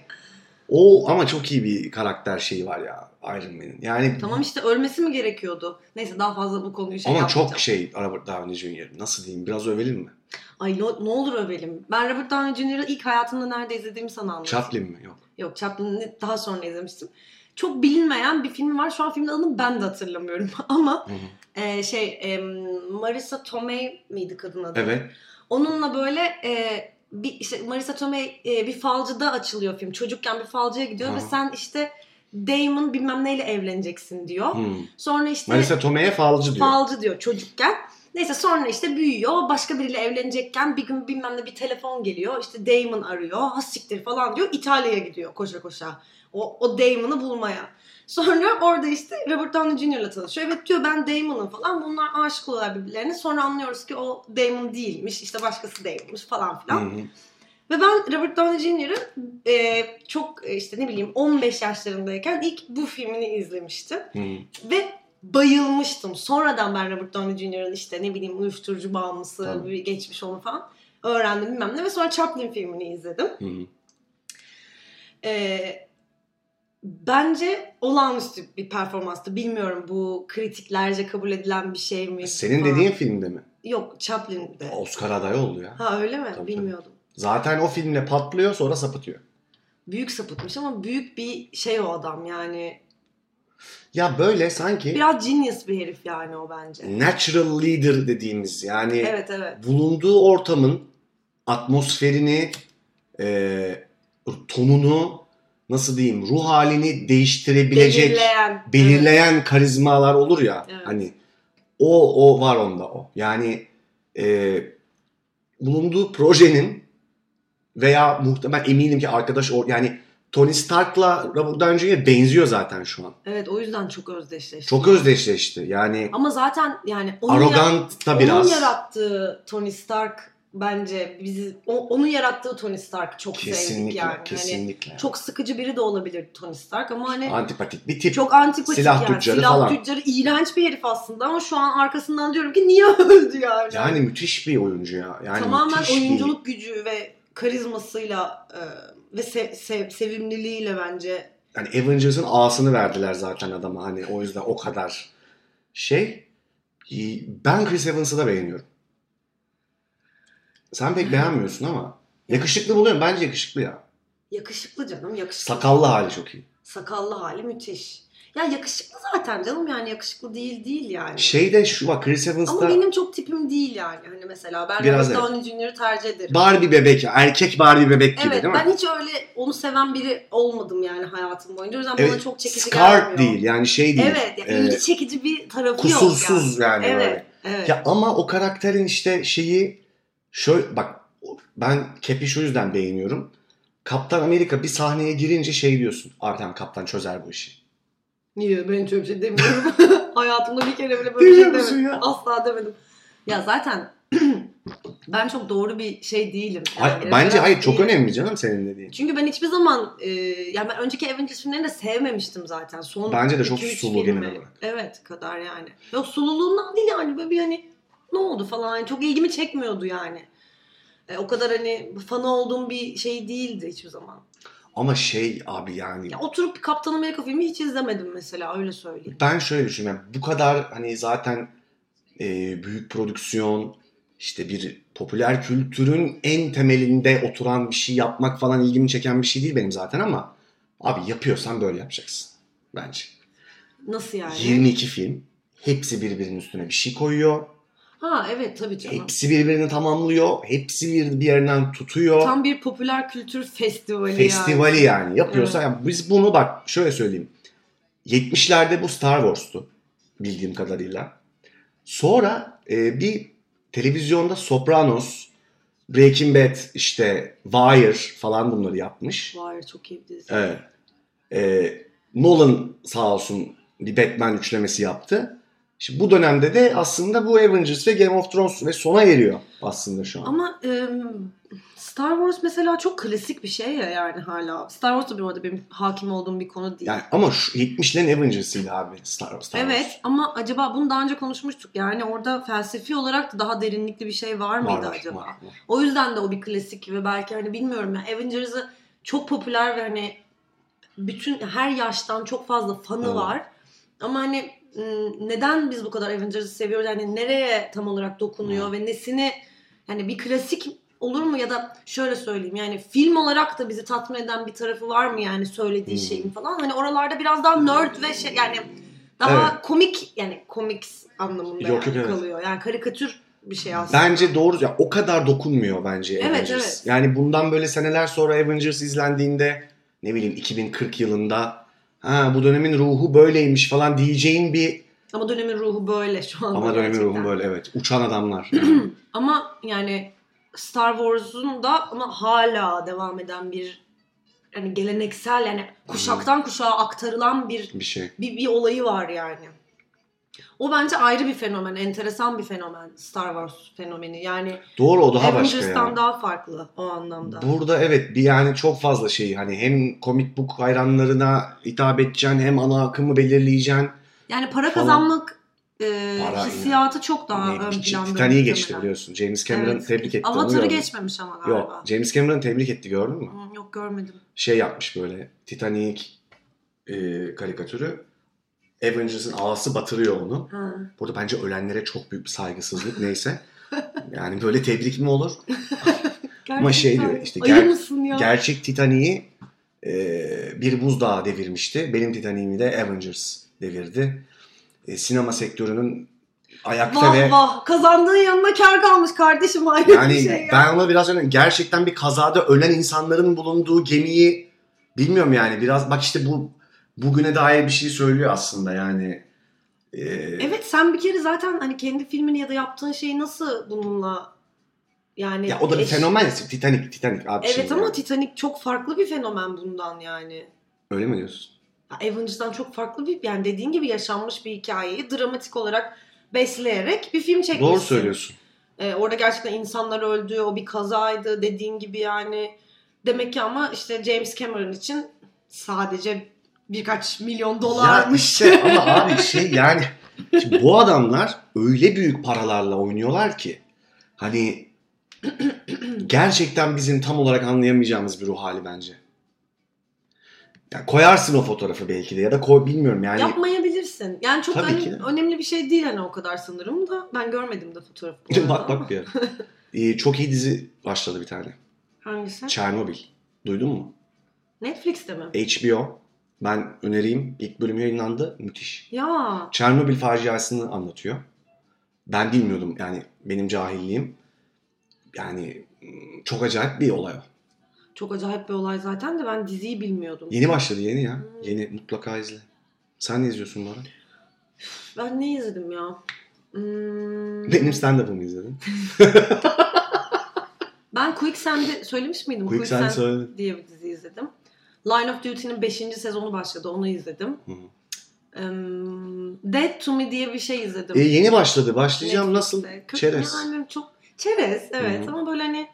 [SPEAKER 1] o ama çok iyi bir karakter şeyi var ya Iron Man'in. Yani
[SPEAKER 2] tamam işte ölmesi mi gerekiyordu? Neyse daha fazla bu konuyu şey
[SPEAKER 1] ama
[SPEAKER 2] yapmayacağım.
[SPEAKER 1] çok şey Robert Downey Jr. Nasıl diyeyim biraz övelim mi?
[SPEAKER 2] Ay lo- ne olur övelim. Ben Robert Downey Jr.'ı ilk hayatımda nerede izlediğimi sana anlatayım.
[SPEAKER 1] Chaplin mi? Yok.
[SPEAKER 2] Yok Chaplin'i daha sonra izlemiştim. Çok bilinmeyen bir filmi var. Şu an filmin adını ben de hatırlamıyorum. Ama
[SPEAKER 1] Hı hı.
[SPEAKER 2] e, şey e, Marisa Tomei miydi kadın adı?
[SPEAKER 1] Evet.
[SPEAKER 2] Onunla böyle e, bir işte Marisa Tomei e, bir falcıda açılıyor film. Çocukken bir falcıya gidiyor
[SPEAKER 1] Hı.
[SPEAKER 2] ve sen işte Damon bilmem neyle evleneceksin diyor.
[SPEAKER 1] Hmm.
[SPEAKER 2] Sonra işte
[SPEAKER 1] Marisa Tomei'ye falcı diyor.
[SPEAKER 2] falcı diyor çocukken. Neyse sonra işte büyüyor. Başka biriyle evlenecekken bir gün bilmem ne bir telefon geliyor. İşte Damon arıyor. Ha siktir falan diyor. İtalya'ya gidiyor koşa koşa. O, o Damon'ı bulmaya. Sonra orada işte Robert Downey Jr. ile tanışıyor. Evet diyor ben Damon'ım falan. Bunlar aşık oluyorlar birbirlerine. Sonra anlıyoruz ki o Damon değilmiş. İşte başkası Damon'mış falan
[SPEAKER 1] Hı
[SPEAKER 2] filan.
[SPEAKER 1] hı.
[SPEAKER 2] Ve ben Robert Downey Jr.'ın e, çok e, işte ne bileyim 15 yaşlarındayken ilk bu filmini izlemiştim.
[SPEAKER 1] Hı.
[SPEAKER 2] Ve bayılmıştım. Sonradan ben Robert Downey Jr.'ın işte ne bileyim uyuşturucu bağımlısı
[SPEAKER 1] Tabii.
[SPEAKER 2] bir geçmiş onu falan öğrendim bilmem ne. Ve sonra Chaplin filmini izledim.
[SPEAKER 1] Hı hı.
[SPEAKER 2] Ee, bence olağanüstü bir performanstı. Bilmiyorum bu kritiklerce kabul edilen bir şey mi?
[SPEAKER 1] Senin
[SPEAKER 2] falan.
[SPEAKER 1] dediğin filmde mi?
[SPEAKER 2] Yok Chaplin'de.
[SPEAKER 1] Oscar adayı oldu ya.
[SPEAKER 2] Ha öyle mi?
[SPEAKER 1] Tabii, tabii.
[SPEAKER 2] Bilmiyordum.
[SPEAKER 1] Zaten o filmle patlıyor sonra sapıtıyor.
[SPEAKER 2] Büyük sapıtmış ama büyük bir şey o adam yani.
[SPEAKER 1] Ya böyle sanki
[SPEAKER 2] Biraz genius bir herif yani o
[SPEAKER 1] E-
[SPEAKER 2] bence.
[SPEAKER 1] natural leader dediğimiz yani
[SPEAKER 2] Evet evet.
[SPEAKER 1] bulunduğu ortamın atmosferini, e, tonunu, nasıl diyeyim, ruh halini değiştirebilecek, belirleyen,
[SPEAKER 2] Belirleyen.
[SPEAKER 1] karizmalar olur ya.
[SPEAKER 2] Evet.
[SPEAKER 1] Hani o o var onda o. Yani e, bulunduğu projenin veya muhtemel eminim ki arkadaş o yani Tony Stark'la Robert Downey Jr. benziyor zaten şu an.
[SPEAKER 2] Evet o yüzden çok özdeşleşti.
[SPEAKER 1] Çok özdeşleşti. Yani
[SPEAKER 2] Ama zaten yani onun, ya-
[SPEAKER 1] arogant da
[SPEAKER 2] onun
[SPEAKER 1] biraz.
[SPEAKER 2] yarattığı Tony Stark bence bizi o- onun yarattığı Tony Stark çok sevdik
[SPEAKER 1] kesinlikle,
[SPEAKER 2] yani. Hani
[SPEAKER 1] kesinlikle.
[SPEAKER 2] çok sıkıcı biri de olabilir Tony Stark ama hani
[SPEAKER 1] Antipatik bir tip.
[SPEAKER 2] çok antipatik
[SPEAKER 1] Silah
[SPEAKER 2] yani.
[SPEAKER 1] tüccarı
[SPEAKER 2] Silah
[SPEAKER 1] falan.
[SPEAKER 2] tüccarı iğrenç bir herif aslında ama şu an arkasından diyorum ki niye öldü yani?
[SPEAKER 1] Yani müthiş bir oyuncu ya. Yani
[SPEAKER 2] Tamamen
[SPEAKER 1] müthiş
[SPEAKER 2] oyunculuk gücü ve karizmasıyla e, ve se- se- sevimliliğiyle bence
[SPEAKER 1] Bir, yani Avengers'ın A'sını verdiler zaten adama hani o yüzden o kadar şey. Ben Chris Evans'ı da beğeniyorum. Sen pek beğenmiyorsun ama yakışıklı buluyorum. Bence yakışıklı ya.
[SPEAKER 2] yakışıklı canım yakışıklı.
[SPEAKER 1] Sakallı hali çok iyi.
[SPEAKER 2] Sakallı hali müthiş. Ya yakışıklı zaten canım yani yakışıklı değil değil yani.
[SPEAKER 1] Şey de şu bak Chris
[SPEAKER 2] Ama
[SPEAKER 1] Evans'ta
[SPEAKER 2] benim çok tipim değil yani. Hani mesela ben
[SPEAKER 1] Biraz
[SPEAKER 2] Robert Downey Jr.'ı tercih ederim.
[SPEAKER 1] Barbie bebek, erkek Barbie bebek gibi
[SPEAKER 2] evet
[SPEAKER 1] değil mi?
[SPEAKER 2] ben hiç öyle onu seven biri olmadım yani hayatım boyunca. O yüzden bana
[SPEAKER 1] Evet,
[SPEAKER 2] çok çekici
[SPEAKER 1] Scar
[SPEAKER 2] gelmiyor.
[SPEAKER 1] değil yani şey değil.
[SPEAKER 2] Evet yani
[SPEAKER 1] Ee,
[SPEAKER 2] ilgi çekici bir tarafı yok yani.
[SPEAKER 1] kusursuz yani. böyle.
[SPEAKER 2] Evet. Evet.
[SPEAKER 1] Ya ama o karakterin işte şeyi şöyle bak ben Cap'i şu yüzden beğeniyorum. Kaptan Amerika bir sahneye girince şey diyorsun. Abi tamam kaptan çözer bu işi.
[SPEAKER 2] Niye ben hiç öyle bir şey demiyorum. Hayatımda bir kere bile böyle
[SPEAKER 1] Demiyor
[SPEAKER 2] bir şey
[SPEAKER 1] musun
[SPEAKER 2] demedim.
[SPEAKER 1] ya?
[SPEAKER 2] Asla demedim. Ya zaten ben çok doğru bir şey değilim. Yani
[SPEAKER 1] Hayır, bence
[SPEAKER 2] referans
[SPEAKER 1] hayır çok
[SPEAKER 2] değilim.
[SPEAKER 1] önemli canım senin dediğin.
[SPEAKER 2] Çünkü ben hiçbir zaman e, yani ben önceki Avengers filmlerini de sevmemiştim zaten. Son
[SPEAKER 1] Bence de çok
[SPEAKER 2] iki, üç
[SPEAKER 1] sulu
[SPEAKER 2] filmi.
[SPEAKER 1] genel olarak.
[SPEAKER 2] Evet kadar yani. Yok sululuğundan değil yani böyle bir hani ne oldu falan yani çok ilgimi çekmiyordu yani. E, o kadar hani fanı olduğum bir şey değildi hiçbir zaman.
[SPEAKER 1] Ama şey abi yani
[SPEAKER 2] Ya oturup Kaptan Amerika filmi hiç izlemedim mesela öyle söyleyeyim.
[SPEAKER 1] ben şöyle düşünüyorum. Yani bu kadar hani zaten e, büyük prodüksiyon işte bir popüler kültürün en temelinde oturan bir şey yapmak falan ilgimi çeken bir şey değil benim zaten ama abi yapıyorsan böyle yapacaksın bence.
[SPEAKER 2] Nasıl yani?
[SPEAKER 1] 22 film. Hepsi birbirinin üstüne bir şey koyuyor.
[SPEAKER 2] Ha evet tabii canım.
[SPEAKER 1] Hepsi birbirini tamamlıyor. Hepsi bir, bir yerinden tutuyor.
[SPEAKER 2] Tam bir popüler kültür festivali,
[SPEAKER 1] Festivali
[SPEAKER 2] yani.
[SPEAKER 1] yani. Yapıyorsa ya biz bunu bak şöyle söyleyeyim. 70'lerde bu Star Wars'tu bildiğim kadarıyla. Sonra e, bir televizyonda Sopranos, Breaking Bad, işte Wire falan bunları yapmış.
[SPEAKER 2] Var çok iyi bir dizi.
[SPEAKER 1] Evet. Ee, Nolan sağ olsun bir Batman üçlemesi yaptı. Şimdi bu dönemde de aslında bu Avengers ve Game of Thrones ve sona eriyor aslında şu an.
[SPEAKER 2] Ama e, Star Wars mesela çok klasik bir şey ya yani hala. Star Wars da bir arada benim hakim olduğum bir konu değil.
[SPEAKER 1] Yani ama şu 70'lerin Avengers'ıydı abi Star, Star Wars.
[SPEAKER 2] evet ama acaba bunu daha önce konuşmuştuk. Yani orada felsefi olarak da daha derinlikli bir şey var mıydı
[SPEAKER 1] Var, var,
[SPEAKER 2] acaba?
[SPEAKER 1] var, var.
[SPEAKER 2] O yüzden de o bir klasik ve belki hani bilmiyorum ya Avengers'ı çok popüler ve hani bütün her yaştan çok fazla fanı
[SPEAKER 1] Evet.
[SPEAKER 2] var. Ama hani m, neden biz bu kadar Avengers'ı seviyoruz? Yani nereye tam olarak dokunuyor ve nesini yani bir klasik olur mu ya da şöyle söyleyeyim yani film olarak da bizi tatmin eden bir tarafı var mı yani söylediği
[SPEAKER 1] Hı.
[SPEAKER 2] şeyin falan hani oralarda biraz daha
[SPEAKER 1] Hmm.
[SPEAKER 2] nerd ve şey yani daha komik yani komiks anlamında
[SPEAKER 1] Yok,
[SPEAKER 2] yani
[SPEAKER 1] yok, evet.
[SPEAKER 2] kalıyor yani karikatür bir şey aslında.
[SPEAKER 1] Bence doğru ya o kadar dokunmuyor bence
[SPEAKER 2] Evet,
[SPEAKER 1] Avengers.
[SPEAKER 2] evet.
[SPEAKER 1] Yani bundan böyle seneler sonra Avengers izlendiğinde ne bileyim 2040 yılında ha bu dönemin ruhu böyleymiş falan diyeceğin bir
[SPEAKER 2] Ama dönemin ruhu böyle şu anda.
[SPEAKER 1] ama dönemin
[SPEAKER 2] gerçekten.
[SPEAKER 1] ruhu böyle evet uçan adamlar.
[SPEAKER 2] Ama yani Star Wars'un da ama hala devam eden bir yani geleneksel yani kuşaktan kuşağa aktarılan bir
[SPEAKER 1] bir şey.
[SPEAKER 2] bir, bir olayı var yani. O bence ayrı bir fenomen, enteresan bir fenomen Star Wars fenomeni. Yani
[SPEAKER 1] Doğru o daha başka
[SPEAKER 2] Avengers'tan
[SPEAKER 1] yani.
[SPEAKER 2] daha farklı o anlamda.
[SPEAKER 1] Burada evet bir yani çok fazla şey hani hem comic book hayranlarına hitap edeceksin hem ana akımı belirleyeceksin.
[SPEAKER 2] yani para
[SPEAKER 1] Falan.
[SPEAKER 2] kazanmak e,
[SPEAKER 1] Para,
[SPEAKER 2] hissiyatı çok daha
[SPEAKER 1] Ne,
[SPEAKER 2] ön planda.
[SPEAKER 1] Titanic'i Hani geçti
[SPEAKER 2] muhtemelen.
[SPEAKER 1] biliyorsun. James Cameron
[SPEAKER 2] Evet.
[SPEAKER 1] tebrik etti. onu
[SPEAKER 2] Avatar'ı
[SPEAKER 1] gördüm.
[SPEAKER 2] geçmemiş ama galiba.
[SPEAKER 1] Yok James Cameron tebrik etti gördün mü?
[SPEAKER 2] Hı, Yok görmedim.
[SPEAKER 1] Şey yapmış böyle Titanic e, karikatürü. Avengers'ın ağası batırıyor onu.
[SPEAKER 2] Ha.
[SPEAKER 1] Burada bence ölenlere çok büyük bir saygısızlık neyse. Yani böyle tebrik mi olur? Ama şey
[SPEAKER 2] Gerçekten.
[SPEAKER 1] diyor işte,
[SPEAKER 2] Ayı
[SPEAKER 1] ger-
[SPEAKER 2] mısın ya?
[SPEAKER 1] Gerçek Titanic'i e, bir buzdağı devirmişti. Benim Titanic'imi de Avengers devirdi. E, sinema sektörünün ayakta
[SPEAKER 2] Vah
[SPEAKER 1] ve
[SPEAKER 2] vah kazandığın yanına kar kalmış kardeşim ayrı
[SPEAKER 1] yani
[SPEAKER 2] bir şey ya.
[SPEAKER 1] ben ona biraz öyle gerçekten bir kazada ölen insanların bulunduğu gemiyi bilmiyorum yani biraz bak işte bu bugüne dair bir şey söylüyor aslında yani. E,
[SPEAKER 2] Evet sen bir kere zaten hani kendi filmini ya da yaptığın şeyi nasıl bununla yani
[SPEAKER 1] Ya o da bir
[SPEAKER 2] eş-
[SPEAKER 1] fenomen. Titanic, Titanic abi. şey
[SPEAKER 2] Evet
[SPEAKER 1] şimdi
[SPEAKER 2] ama
[SPEAKER 1] yani.
[SPEAKER 2] Titanic çok farklı bir fenomen bundan yani.
[SPEAKER 1] Öyle mi diyorsun?
[SPEAKER 2] Ya Avengers'dan çok farklı bir yani dediğin gibi yaşanmış bir hikayeyi dramatik olarak besleyerek bir film çekmişsin.
[SPEAKER 1] Doğru söylüyorsun.
[SPEAKER 2] Ee, orada gerçekten insanlar öldü, o bir kazaydı dediğin gibi yani. Demek ki ama işte James Cameron için sadece birkaç milyon
[SPEAKER 1] Ya
[SPEAKER 2] dolarmış.
[SPEAKER 1] işte ama abi şey yani şimdi bu adamlar öyle büyük paralarla oynuyorlar ki hani gerçekten bizim tam olarak anlayamayacağımız bir ruh hali bence. Ya koyarsın o fotoğrafı belki de ya da koy bilmiyorum yani.
[SPEAKER 2] Yapmayabilirsin. Yani çok
[SPEAKER 1] Tabii
[SPEAKER 2] hani
[SPEAKER 1] ki de.
[SPEAKER 2] önemli bir şey değil hani o kadar sanırım da. Ben görmedim de fotoğrafı. bu arada
[SPEAKER 1] bak
[SPEAKER 2] ama.
[SPEAKER 1] bak bir ara. Ee, çok iyi dizi başladı bir tane.
[SPEAKER 2] Hangisi?
[SPEAKER 1] Çernobil. Duydun mu?
[SPEAKER 2] Netflix'te mi?
[SPEAKER 1] HBO. Ben önereyim. İlk bölüm yayınlandı. Müthiş.
[SPEAKER 2] Ya.
[SPEAKER 1] Çernobil faciasını anlatıyor. Ben bilmiyordum yani benim cahilliğim. Yani mm, çok acayip bir olay o.
[SPEAKER 2] Çok acayip bir olay zaten de ben diziyi bilmiyordum.
[SPEAKER 1] Yeni başladı yeni ya.
[SPEAKER 2] Hmm.
[SPEAKER 1] Yeni mutlaka izle. Sen ne izliyorsun bana?
[SPEAKER 2] Ben ne izledim ya? Hmm,
[SPEAKER 1] Benim stand-up'ımı izledin.
[SPEAKER 2] ben Quicksand'i söylemiş miydim?
[SPEAKER 1] Quicksand'ı söyledin.
[SPEAKER 2] diye bir dizi izledim. Line of Duty'nin 5. sezonu başladı. Onu izledim.
[SPEAKER 1] Hı.
[SPEAKER 2] Em, Dead to Me diye bir şey izledim.
[SPEAKER 1] E, yeni başladı. Başlayacağım nasıl?
[SPEAKER 2] Netflix'te. Kötü
[SPEAKER 1] Çerez.
[SPEAKER 2] Yani çok çerez evet
[SPEAKER 1] Hı.
[SPEAKER 2] ama böyle hani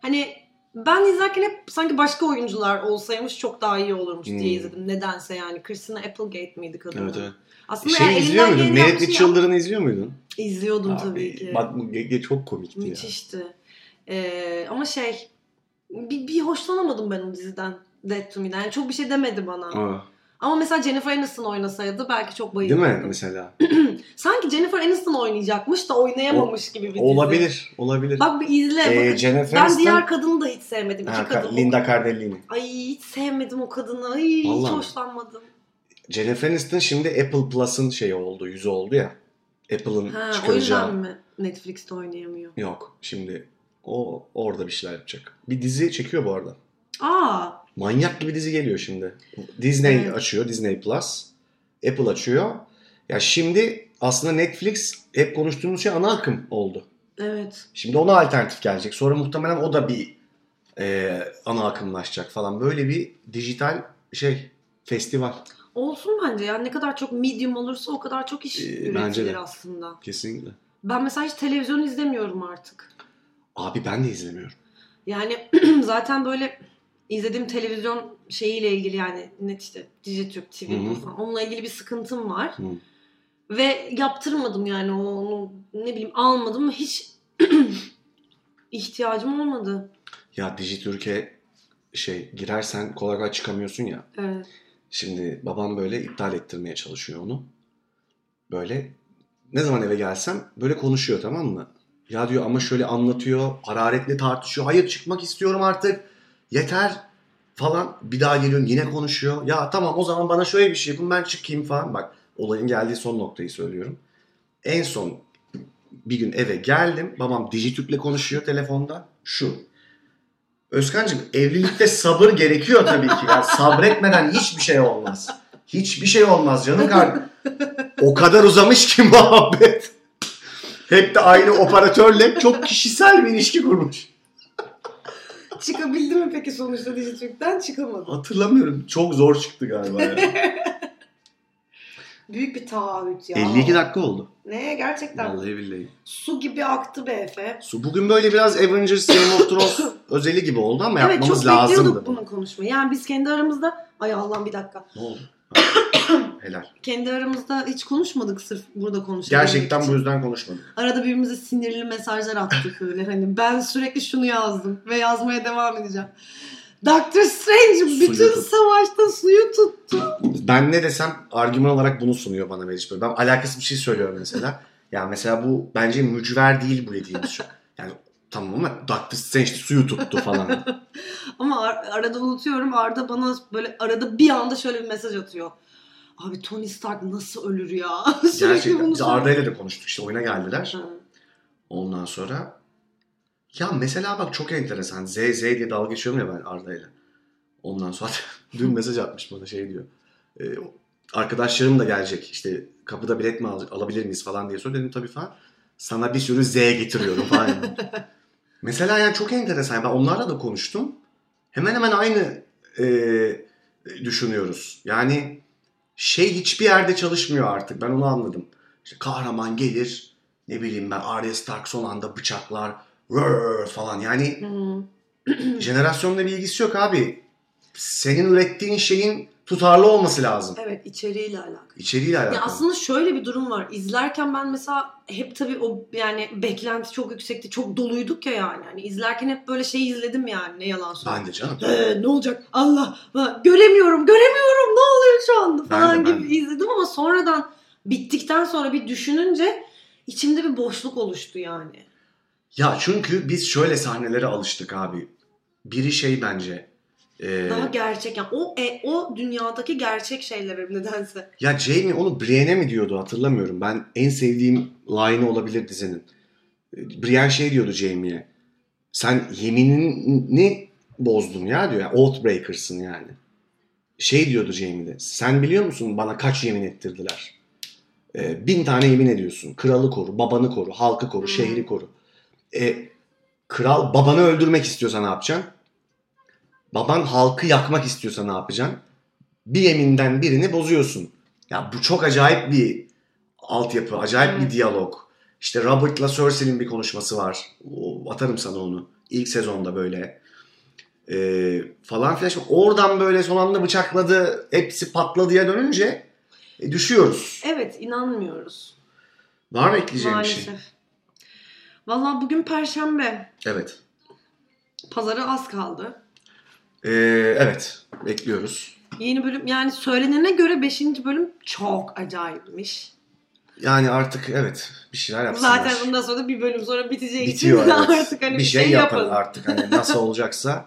[SPEAKER 2] hani ben izlerken hep sanki başka oyuncular olsaymış çok daha iyi olurmuş
[SPEAKER 1] Hı.
[SPEAKER 2] diye izledim. Nedense yani. Christina Applegate miydi kadın?
[SPEAKER 1] Evet evet.
[SPEAKER 2] Aslında
[SPEAKER 1] Şey
[SPEAKER 2] elinden
[SPEAKER 1] izliyor muydun?
[SPEAKER 2] geleni
[SPEAKER 1] Merit
[SPEAKER 2] yapmışım ya.
[SPEAKER 1] Mitchell'larını izliyor muydun?
[SPEAKER 2] İzliyordum
[SPEAKER 1] Abi,
[SPEAKER 2] tabii ki.
[SPEAKER 1] Bak bu ge- ge- çok komikti ya.
[SPEAKER 2] Müthişti. Ee, ama şey bir, bir hoşlanamadım ben o diziden. Dead to Me'den. Yani çok bir şey demedi bana.
[SPEAKER 1] Aa,
[SPEAKER 2] Ama mesela Jennifer Aniston oynasaydı belki çok
[SPEAKER 1] değil
[SPEAKER 2] bayılırdım.
[SPEAKER 1] mi mesela?
[SPEAKER 2] Sanki Jennifer Aniston oynayacakmış da oynayamamış gibi bir dizi.
[SPEAKER 1] olabilir. Olabilir.
[SPEAKER 2] Bak bir izle.
[SPEAKER 1] Ee,
[SPEAKER 2] bakın.
[SPEAKER 1] Jennifer
[SPEAKER 2] ben
[SPEAKER 1] Aniston-
[SPEAKER 2] diğer kadını da hiç sevmedim. İki
[SPEAKER 1] Ha, Ka-
[SPEAKER 2] kadın.
[SPEAKER 1] Linda Cardellini.
[SPEAKER 2] Ay hiç sevmedim o kadını. Ay hiç
[SPEAKER 1] Vallahi mi?
[SPEAKER 2] hoşlanmadım.
[SPEAKER 1] Jennifer Aniston şimdi Apple Plus'ın şeyi oldu, yüzü oldu ya. Apple'ın
[SPEAKER 2] Ha, o yüzden
[SPEAKER 1] çıkaracağı.
[SPEAKER 2] mi Netflix'te oynayamıyor?
[SPEAKER 1] Yok şimdi o orada bir şeyler yapacak. Bir dizi çekiyor bu arada.
[SPEAKER 2] Aa
[SPEAKER 1] Manyak gibi dizi geliyor şimdi. Disney
[SPEAKER 2] Evet.
[SPEAKER 1] açıyor, Disney Plus. Apple açıyor. Ya şimdi aslında Netflix hep konuştuğumuz şey ana akım oldu.
[SPEAKER 2] evet.
[SPEAKER 1] Şimdi ona alternatif gelecek. Sonra muhtemelen o da bir e, ana akımlaşacak falan. Böyle bir dijital şey festival.
[SPEAKER 2] Olsun bence yani ne kadar çok medium olursa o kadar çok iş
[SPEAKER 1] Ee,
[SPEAKER 2] üretilir
[SPEAKER 1] bence de.
[SPEAKER 2] aslında.
[SPEAKER 1] Kesinlikle.
[SPEAKER 2] Ben mesela hiç televizyon izlemiyorum artık.
[SPEAKER 1] Abi ben de izlemiyorum.
[SPEAKER 2] Yani zaten böyle izlediğim televizyon şeyiyle ilgili yani net işte Dijitürk TV
[SPEAKER 1] Hı
[SPEAKER 2] bu
[SPEAKER 1] hı.
[SPEAKER 2] falan onunla ilgili bir sıkıntım var.
[SPEAKER 1] Hı.
[SPEAKER 2] Ve yaptırmadım yani onu ne bileyim almadım hiç ihtiyacım olmadı.
[SPEAKER 1] Ya Dijitürk'e şey girersen kolay kolay çıkamıyorsun ya.
[SPEAKER 2] Evet.
[SPEAKER 1] Şimdi babam böyle iptal ettirmeye çalışıyor onu. Böyle ne zaman eve gelsem böyle konuşuyor tamam mı? Ya diyor ama şöyle anlatıyor, hararetli tartışıyor. Hayır çıkmak istiyorum artık. Yeter falan. Bir daha geliyorum yine konuşuyor. Ya tamam o zaman bana şöyle bir şey yapın ben çıkayım falan. Bak olayın geldiği son noktayı söylüyorum. En son bir gün eve geldim. Babam Dijitürk'le konuşuyor telefonda. Şu. Özkan'cığım evlilikte sabır gerekiyor tabii ki. Yani sabretmeden hiçbir şey olmaz. Hiçbir şey olmaz canım kardeşim. O kadar uzamış ki muhabbet. Hep de aynı operatörle çok kişisel bir ilişki kurmuş.
[SPEAKER 2] Çıkabildi mi peki sonuçta Dijitürk'ten? Çıkamadım.
[SPEAKER 1] Hatırlamıyorum. Çok zor çıktı galiba. ya.
[SPEAKER 2] Büyük bir taahhüt ya.
[SPEAKER 1] 52 dakika oldu.
[SPEAKER 2] Ne gerçekten.
[SPEAKER 1] Vallahi billahi.
[SPEAKER 2] Su gibi aktı be Efe.
[SPEAKER 1] Su bugün böyle biraz Avengers Game of Thrones özeli gibi oldu ama
[SPEAKER 2] Evet
[SPEAKER 1] yapmamız
[SPEAKER 2] çok
[SPEAKER 1] lazımdı.
[SPEAKER 2] bekliyorduk bunu konuşmayı. Yani biz kendi aramızda ay Allah'ım bir dakika.
[SPEAKER 1] Ne oldu? Helal.
[SPEAKER 2] Kendi aramızda hiç konuşmadık sırf burada konuşalım.
[SPEAKER 1] Gerçekten bu yüzden konuşmadık.
[SPEAKER 2] Arada birbirimize sinirli mesajlar attık böyle hani ben sürekli şunu yazdım ve yazmaya devam edeceğim. Doctor Strange
[SPEAKER 1] Suyu
[SPEAKER 2] bütün
[SPEAKER 1] tut.
[SPEAKER 2] savaşta suyu tuttu.
[SPEAKER 1] Ben ne desem argüman olarak bunu sunuyor bana Meriç Bey. Ben alakasız bir şey söylüyorum mesela. ya mesela bu bence mücver değil bu dediğimiz şey. Yani tamam ama Doctor Strange suyu tuttu falan.
[SPEAKER 2] Ama ar- arada unutuyorum Arda bana böyle arada bir anda şöyle bir mesaj atıyor. Abi Tony Stark nasıl ölür ya? sürekli
[SPEAKER 1] Gerçekten.
[SPEAKER 2] bunu
[SPEAKER 1] Biz
[SPEAKER 2] söylüyor.
[SPEAKER 1] Arda'yla da konuştuk işte oyuna geldiler.
[SPEAKER 2] Ha.
[SPEAKER 1] Ondan sonra ya mesela bak çok enteresan. Z Z diye dalga geçiyorum ya ben Arda'yla. Ondan sonra dün mesaj atmış bana şey diyor. E, arkadaşlarım da gelecek. İşte kapıda bilet mi al- alabilir miyiz falan diye sordum. Dedim tabii falan. Sana bir sürü Z getiriyorum falan. mesela yani çok enteresan. Ben onlarla da konuştum. Hemen hemen aynı e, düşünüyoruz. Yani şey hiçbir yerde çalışmıyor artık. Ben onu anladım. İşte kahraman gelir, ne bileyim ben Arya Stark son anda bıçaklar "Rrr" falan. Yani
[SPEAKER 2] Hı.
[SPEAKER 1] jenerasyonla bir ilgisi yok abi. Senin ürettiğin şeyin tutarlı olması lazım.
[SPEAKER 2] Evet içeriğiyle alakalı.
[SPEAKER 1] İçeriğiyle alakalı.
[SPEAKER 2] Ya aslında şöyle bir durum var. İzlerken ben mesela hep tabii o yani beklenti çok yüksekti. Çok doluyduk ya yani. yani izlerken hep böyle şey izledim yani. Ne yalan söyleyeyim.
[SPEAKER 1] Ben de canım.
[SPEAKER 2] Ee, ne olacak? Allah! Ha, Göremiyorum, göremiyorum. Ne oluyor şu anda?
[SPEAKER 1] Ben de,
[SPEAKER 2] Falan
[SPEAKER 1] ben
[SPEAKER 2] gibi izledim ama sonradan bittikten sonra bir düşününce içimde bir boşluk oluştu yani.
[SPEAKER 1] Ya çünkü biz şöyle sahnelere alıştık abi. Biri şey bence. Ee,
[SPEAKER 2] Daha gerçek yani o e, o dünyadaki gerçek şeylerim nedense.
[SPEAKER 1] ya Jamie onu Brienne'e mi diyordu hatırlamıyorum. Ben en sevdiğim line'ı olabilir dizinin. Ee, Brienne şey diyordu Jamie'ye. Sen yeminini bozdun ya diyor. Yani Oathbreaker'sın yani. Şey diyordu Jamie de. Sen biliyor musun bana kaç yemin ettirdiler? Ee, bin tane yemin ediyorsun. Kralı koru, babanı koru, halkı koru,
[SPEAKER 2] Hı.
[SPEAKER 1] şehri koru. E, kral babanı öldürmek istiyorsa ne yapacaksın? Baban halkı yakmak istiyorsa ne yapacaksın? Bir yeminden birini bozuyorsun. Ya bu çok acayip bir altyapı, acayip bir
[SPEAKER 2] Evet.
[SPEAKER 1] diyalog. İşte Robert'la Cersei'nin bir konuşması var. O, atarım sana onu. İlk sezonda böyle. Ee, falan filan. Şimdi Oradan böyle son anda bıçakladı, hepsi patladıya dönünce e, düşüyoruz.
[SPEAKER 2] Evet inanmıyoruz
[SPEAKER 1] Var mı ekleyeceğim bir şey?
[SPEAKER 2] maalesef. Vallahi bugün perşembe.
[SPEAKER 1] Evet.
[SPEAKER 2] Pazara az kaldı.
[SPEAKER 1] Ee, evet. Bekliyoruz.
[SPEAKER 2] Yeni bölüm yani söylenene göre 5. bölüm çok acayipmiş.
[SPEAKER 1] Yani artık evet bir şeyler yapsınlar.
[SPEAKER 2] Zaten bundan sonra da bir bölüm sonra biteceği
[SPEAKER 1] Bitiyor
[SPEAKER 2] için
[SPEAKER 1] evet.
[SPEAKER 2] artık hani
[SPEAKER 1] bir şey yapın, artık hani nasıl olacaksa.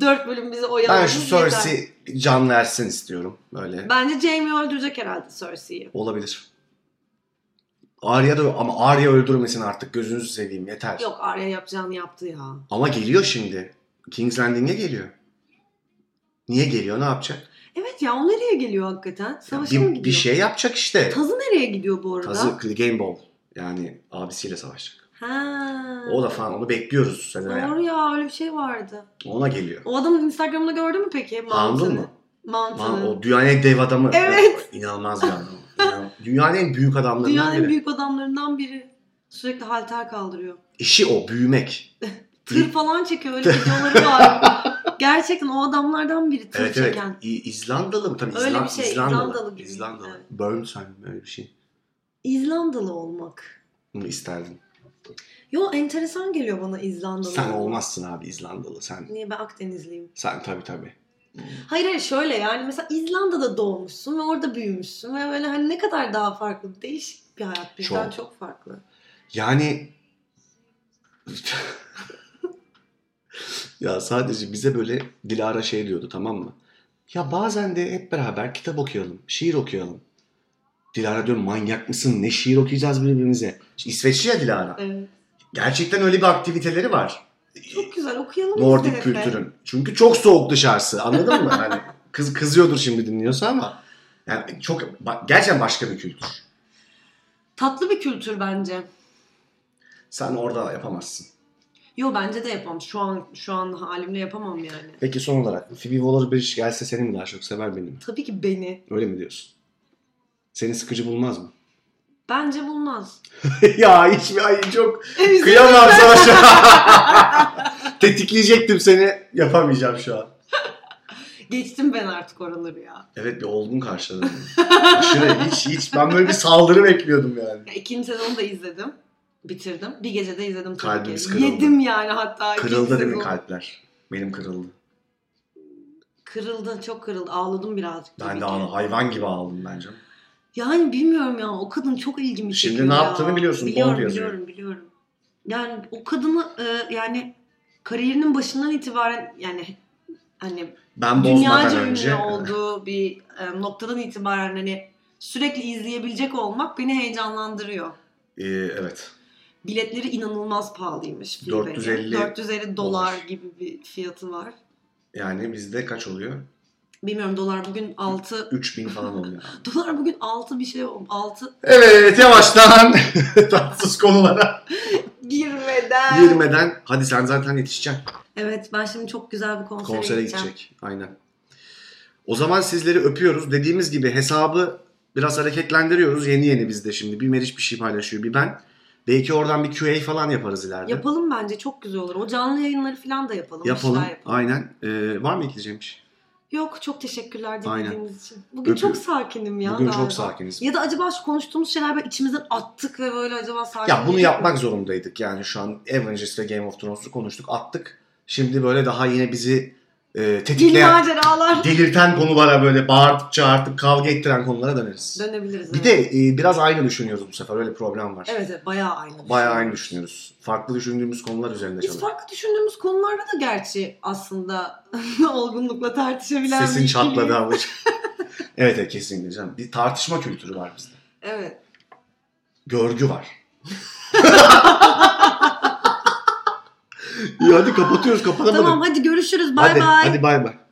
[SPEAKER 2] 4 bölüm bizi oyalar.
[SPEAKER 1] ben şu Cersei can versin istiyorum böyle.
[SPEAKER 2] Bence Jaime öldürecek herhalde Cersei'yi.
[SPEAKER 1] Olabilir. Arya da ama Arya öldürmesin artık gözünüzü seveyim yeter.
[SPEAKER 2] Yok Arya yapacağını yaptı ya.
[SPEAKER 1] Ama geliyor şimdi. King's Landing'e geliyor. Niye geliyor? Ne yapacak?
[SPEAKER 2] Evet ya o nereye geliyor hakikaten?
[SPEAKER 1] Ya
[SPEAKER 2] Savaşa mı
[SPEAKER 1] bir,
[SPEAKER 2] gidiyor?
[SPEAKER 1] bir şey yapacak işte.
[SPEAKER 2] Tazı nereye gidiyor bu arada?
[SPEAKER 1] Tazı Game Ball. Yani abisiyle savaşacak.
[SPEAKER 2] Ha.
[SPEAKER 1] O da falan onu bekliyoruz seneye.
[SPEAKER 2] Doğru ya öyle bir şey vardı.
[SPEAKER 1] Ona geliyor.
[SPEAKER 2] O adamın Instagram'ını gördün mü peki? Mantını.
[SPEAKER 1] Anladın mı? Lan
[SPEAKER 2] Mantını.
[SPEAKER 1] o dünyanın en dev adamı.
[SPEAKER 2] Evet.
[SPEAKER 1] İnanılmaz bir adam. İnan- dünyanın en büyük adamlarından
[SPEAKER 2] Dünyanın en
[SPEAKER 1] biri.
[SPEAKER 2] büyük adamlarından biri. Sürekli halter kaldırıyor.
[SPEAKER 1] İşi o büyümek.
[SPEAKER 2] Tır falan çekiyor öyle videoları var. Gerçekten o adamlardan biri tır
[SPEAKER 1] evet evet.
[SPEAKER 2] çeken.
[SPEAKER 1] İ- İzlandalı mı? Tabii
[SPEAKER 2] Öyle
[SPEAKER 1] İzlan-
[SPEAKER 2] bir şey,
[SPEAKER 1] İzlandalı.
[SPEAKER 2] İzlandalı gibi.
[SPEAKER 1] İzlandalı.
[SPEAKER 2] Evet.
[SPEAKER 1] Burnside mi? Öyle bir şey.
[SPEAKER 2] İzlandalı olmak.
[SPEAKER 1] Bunu isterdin.
[SPEAKER 2] Yo enteresan geliyor bana İzlandalı
[SPEAKER 1] Sen
[SPEAKER 2] olmak.
[SPEAKER 1] olmazsın abi İzlandalı. Sen
[SPEAKER 2] Niye ben Akdenizliyim?
[SPEAKER 1] sen tabii tabii.
[SPEAKER 2] Hayır hayır şöyle yani mesela İzlanda'da doğmuşsun ve orada büyümüşsün ve böyle hani ne kadar daha farklı değişik bir hayat bizden
[SPEAKER 1] Çok.
[SPEAKER 2] çok, farklı.
[SPEAKER 1] Yani ya sadece bize böyle Dilara şey diyordu tamam mı? Ya bazen de hep beraber kitap okuyalım, şiir okuyalım. Dilara diyorum manyak mısın? Ne şiir okuyacağız birbirimize? İsveçli ya Dilara.
[SPEAKER 2] Evet.
[SPEAKER 1] Gerçekten öyle bir aktiviteleri var.
[SPEAKER 2] Çok güzel okuyalım.
[SPEAKER 1] Nordik
[SPEAKER 2] biz de Efe.
[SPEAKER 1] kültürün. Çünkü çok soğuk dışarısı. Anladın mı? Hani kız kızıyordur şimdi dinliyorsa ama yani çok ba- gerçekten başka bir kültür.
[SPEAKER 2] Tatlı bir kültür bence.
[SPEAKER 1] Sen orada yapamazsın.
[SPEAKER 2] Yo bence de yapamam. Şu an şu an halimle yapamam yani.
[SPEAKER 1] Peki son olarak Phoebe Waller-Bridge gelse seni mi daha çok sever beni mi?
[SPEAKER 2] Tabii ki beni.
[SPEAKER 1] Öyle mi diyorsun? Seni sıkıcı bulmaz mı?
[SPEAKER 2] Bence bulmaz.
[SPEAKER 1] ya hiç mi? Ay çok
[SPEAKER 2] En güzel-
[SPEAKER 1] kıyamam sana şu an. Tetikleyecektim seni. Yapamayacağım şu an.
[SPEAKER 2] Geçtim ben artık oraları ya.
[SPEAKER 1] Evet bir olgun karşıladım. Aşırı hiç hiç ben böyle bir saldırı bekliyordum yani.
[SPEAKER 2] ya. İkinci sezonu da izledim. Bitirdim. Bir gecede izledim tabii
[SPEAKER 1] Kalbimiz
[SPEAKER 2] ki.
[SPEAKER 1] kırıldı.
[SPEAKER 2] Yedim yani hatta. ikinci
[SPEAKER 1] Kırıldı değil mi
[SPEAKER 2] sezon.
[SPEAKER 1] kalpler? Benim kırıldı.
[SPEAKER 2] Kırıldı. Çok kırıldı. Ağladım birazcık. tabii
[SPEAKER 1] Ben de
[SPEAKER 2] ki.
[SPEAKER 1] ağla- hayvan gibi ağladım bence.
[SPEAKER 2] Yani bilmiyorum ya o kadın çok ilgimi
[SPEAKER 1] Şimdi
[SPEAKER 2] çekiyor
[SPEAKER 1] ne
[SPEAKER 2] ya.
[SPEAKER 1] yaptığını biliyorsun,
[SPEAKER 2] Biliyorum
[SPEAKER 1] Bond yazıyor.
[SPEAKER 2] biliyorum biliyorum. Yani o kadını e, yani kariyerinin başından itibaren yani hani
[SPEAKER 1] Ben bozmadan
[SPEAKER 2] dünyaca ünlü
[SPEAKER 1] önce
[SPEAKER 2] olduğu bir e, noktadan itibaren hani sürekli izleyebilecek olmak beni heyecanlandırıyor.
[SPEAKER 1] Ee, evet.
[SPEAKER 2] Biletleri inanılmaz pahalıymış. Filibe'ye.
[SPEAKER 1] 450
[SPEAKER 2] 450 dolar
[SPEAKER 1] dolar.
[SPEAKER 2] gibi bir fiyatı var.
[SPEAKER 1] Yani bizde kaç oluyor?
[SPEAKER 2] Bilmiyorum dolar bugün 6
[SPEAKER 1] 3000 falan oluyor.
[SPEAKER 2] dolar bugün 6 bir şey 6
[SPEAKER 1] evet yavaştan tatsız konulara
[SPEAKER 2] girmeden.
[SPEAKER 1] girmeden hadi sen zaten yetişeceksin.
[SPEAKER 2] Evet ben şimdi çok güzel bir konsere,
[SPEAKER 1] Konsere
[SPEAKER 2] gideceğim.
[SPEAKER 1] gidecek. Aynen. O zaman sizleri öpüyoruz. Dediğimiz gibi hesabı biraz hareketlendiriyoruz. Yeni yeni bizde şimdi. Bir Meriç bir şey paylaşıyor, bir ben. Belki oradan bir QA falan yaparız ileride.
[SPEAKER 2] Yapalım bence çok güzel olur. O canlı yayınları falan da yapalım. bir
[SPEAKER 1] Yapalım.
[SPEAKER 2] şeyler yapalım.
[SPEAKER 1] Aynen. Ee, var mı ekleyeceğim bir şey?
[SPEAKER 2] Yok çok teşekkürler
[SPEAKER 1] Aynen.
[SPEAKER 2] dinlediğiniz için. Bugün
[SPEAKER 1] Öpüyorum.
[SPEAKER 2] çok sakinim ya.
[SPEAKER 1] Bugün
[SPEAKER 2] galiba.
[SPEAKER 1] çok sakiniz.
[SPEAKER 2] Ya da acaba şu konuştuğumuz şeyler böyle içimizden attık ve böyle acaba sakin
[SPEAKER 1] Ya bunu
[SPEAKER 2] değil mi?
[SPEAKER 1] yapmak zorundaydık yani şu an Avengers ve Game of Thrones'u konuştuk attık. Şimdi böyle daha yine bizi e,
[SPEAKER 2] Yeni
[SPEAKER 1] tetikleyen,
[SPEAKER 2] maceralar.
[SPEAKER 1] delirten konulara böyle bağırtıp çağırtıp kavga ettiren konulara döneriz.
[SPEAKER 2] Dönebiliriz.
[SPEAKER 1] Bir
[SPEAKER 2] evet.
[SPEAKER 1] de e, biraz aynı düşünüyoruz bu sefer. Öyle problem var.
[SPEAKER 2] Evet evet bayağı aynı.
[SPEAKER 1] Bayağı aynı düşünüyoruz. Farklı düşündüğümüz konular üzerinde
[SPEAKER 2] Biz
[SPEAKER 1] çalışıyoruz.
[SPEAKER 2] farklı düşündüğümüz konularda da gerçi aslında olgunlukla tartışabilen bir şey.
[SPEAKER 1] Sesin
[SPEAKER 2] ikiliyiz.
[SPEAKER 1] çatladı ama. evet evet kesinlikle canım. Bir tartışma kültürü var bizde.
[SPEAKER 2] Evet.
[SPEAKER 1] Görgü var. İyi hadi kapatıyoruz kapatalım.
[SPEAKER 2] Tamam hadi görüşürüz. Bay
[SPEAKER 1] hadi,
[SPEAKER 2] bay.
[SPEAKER 1] Hadi bay bay.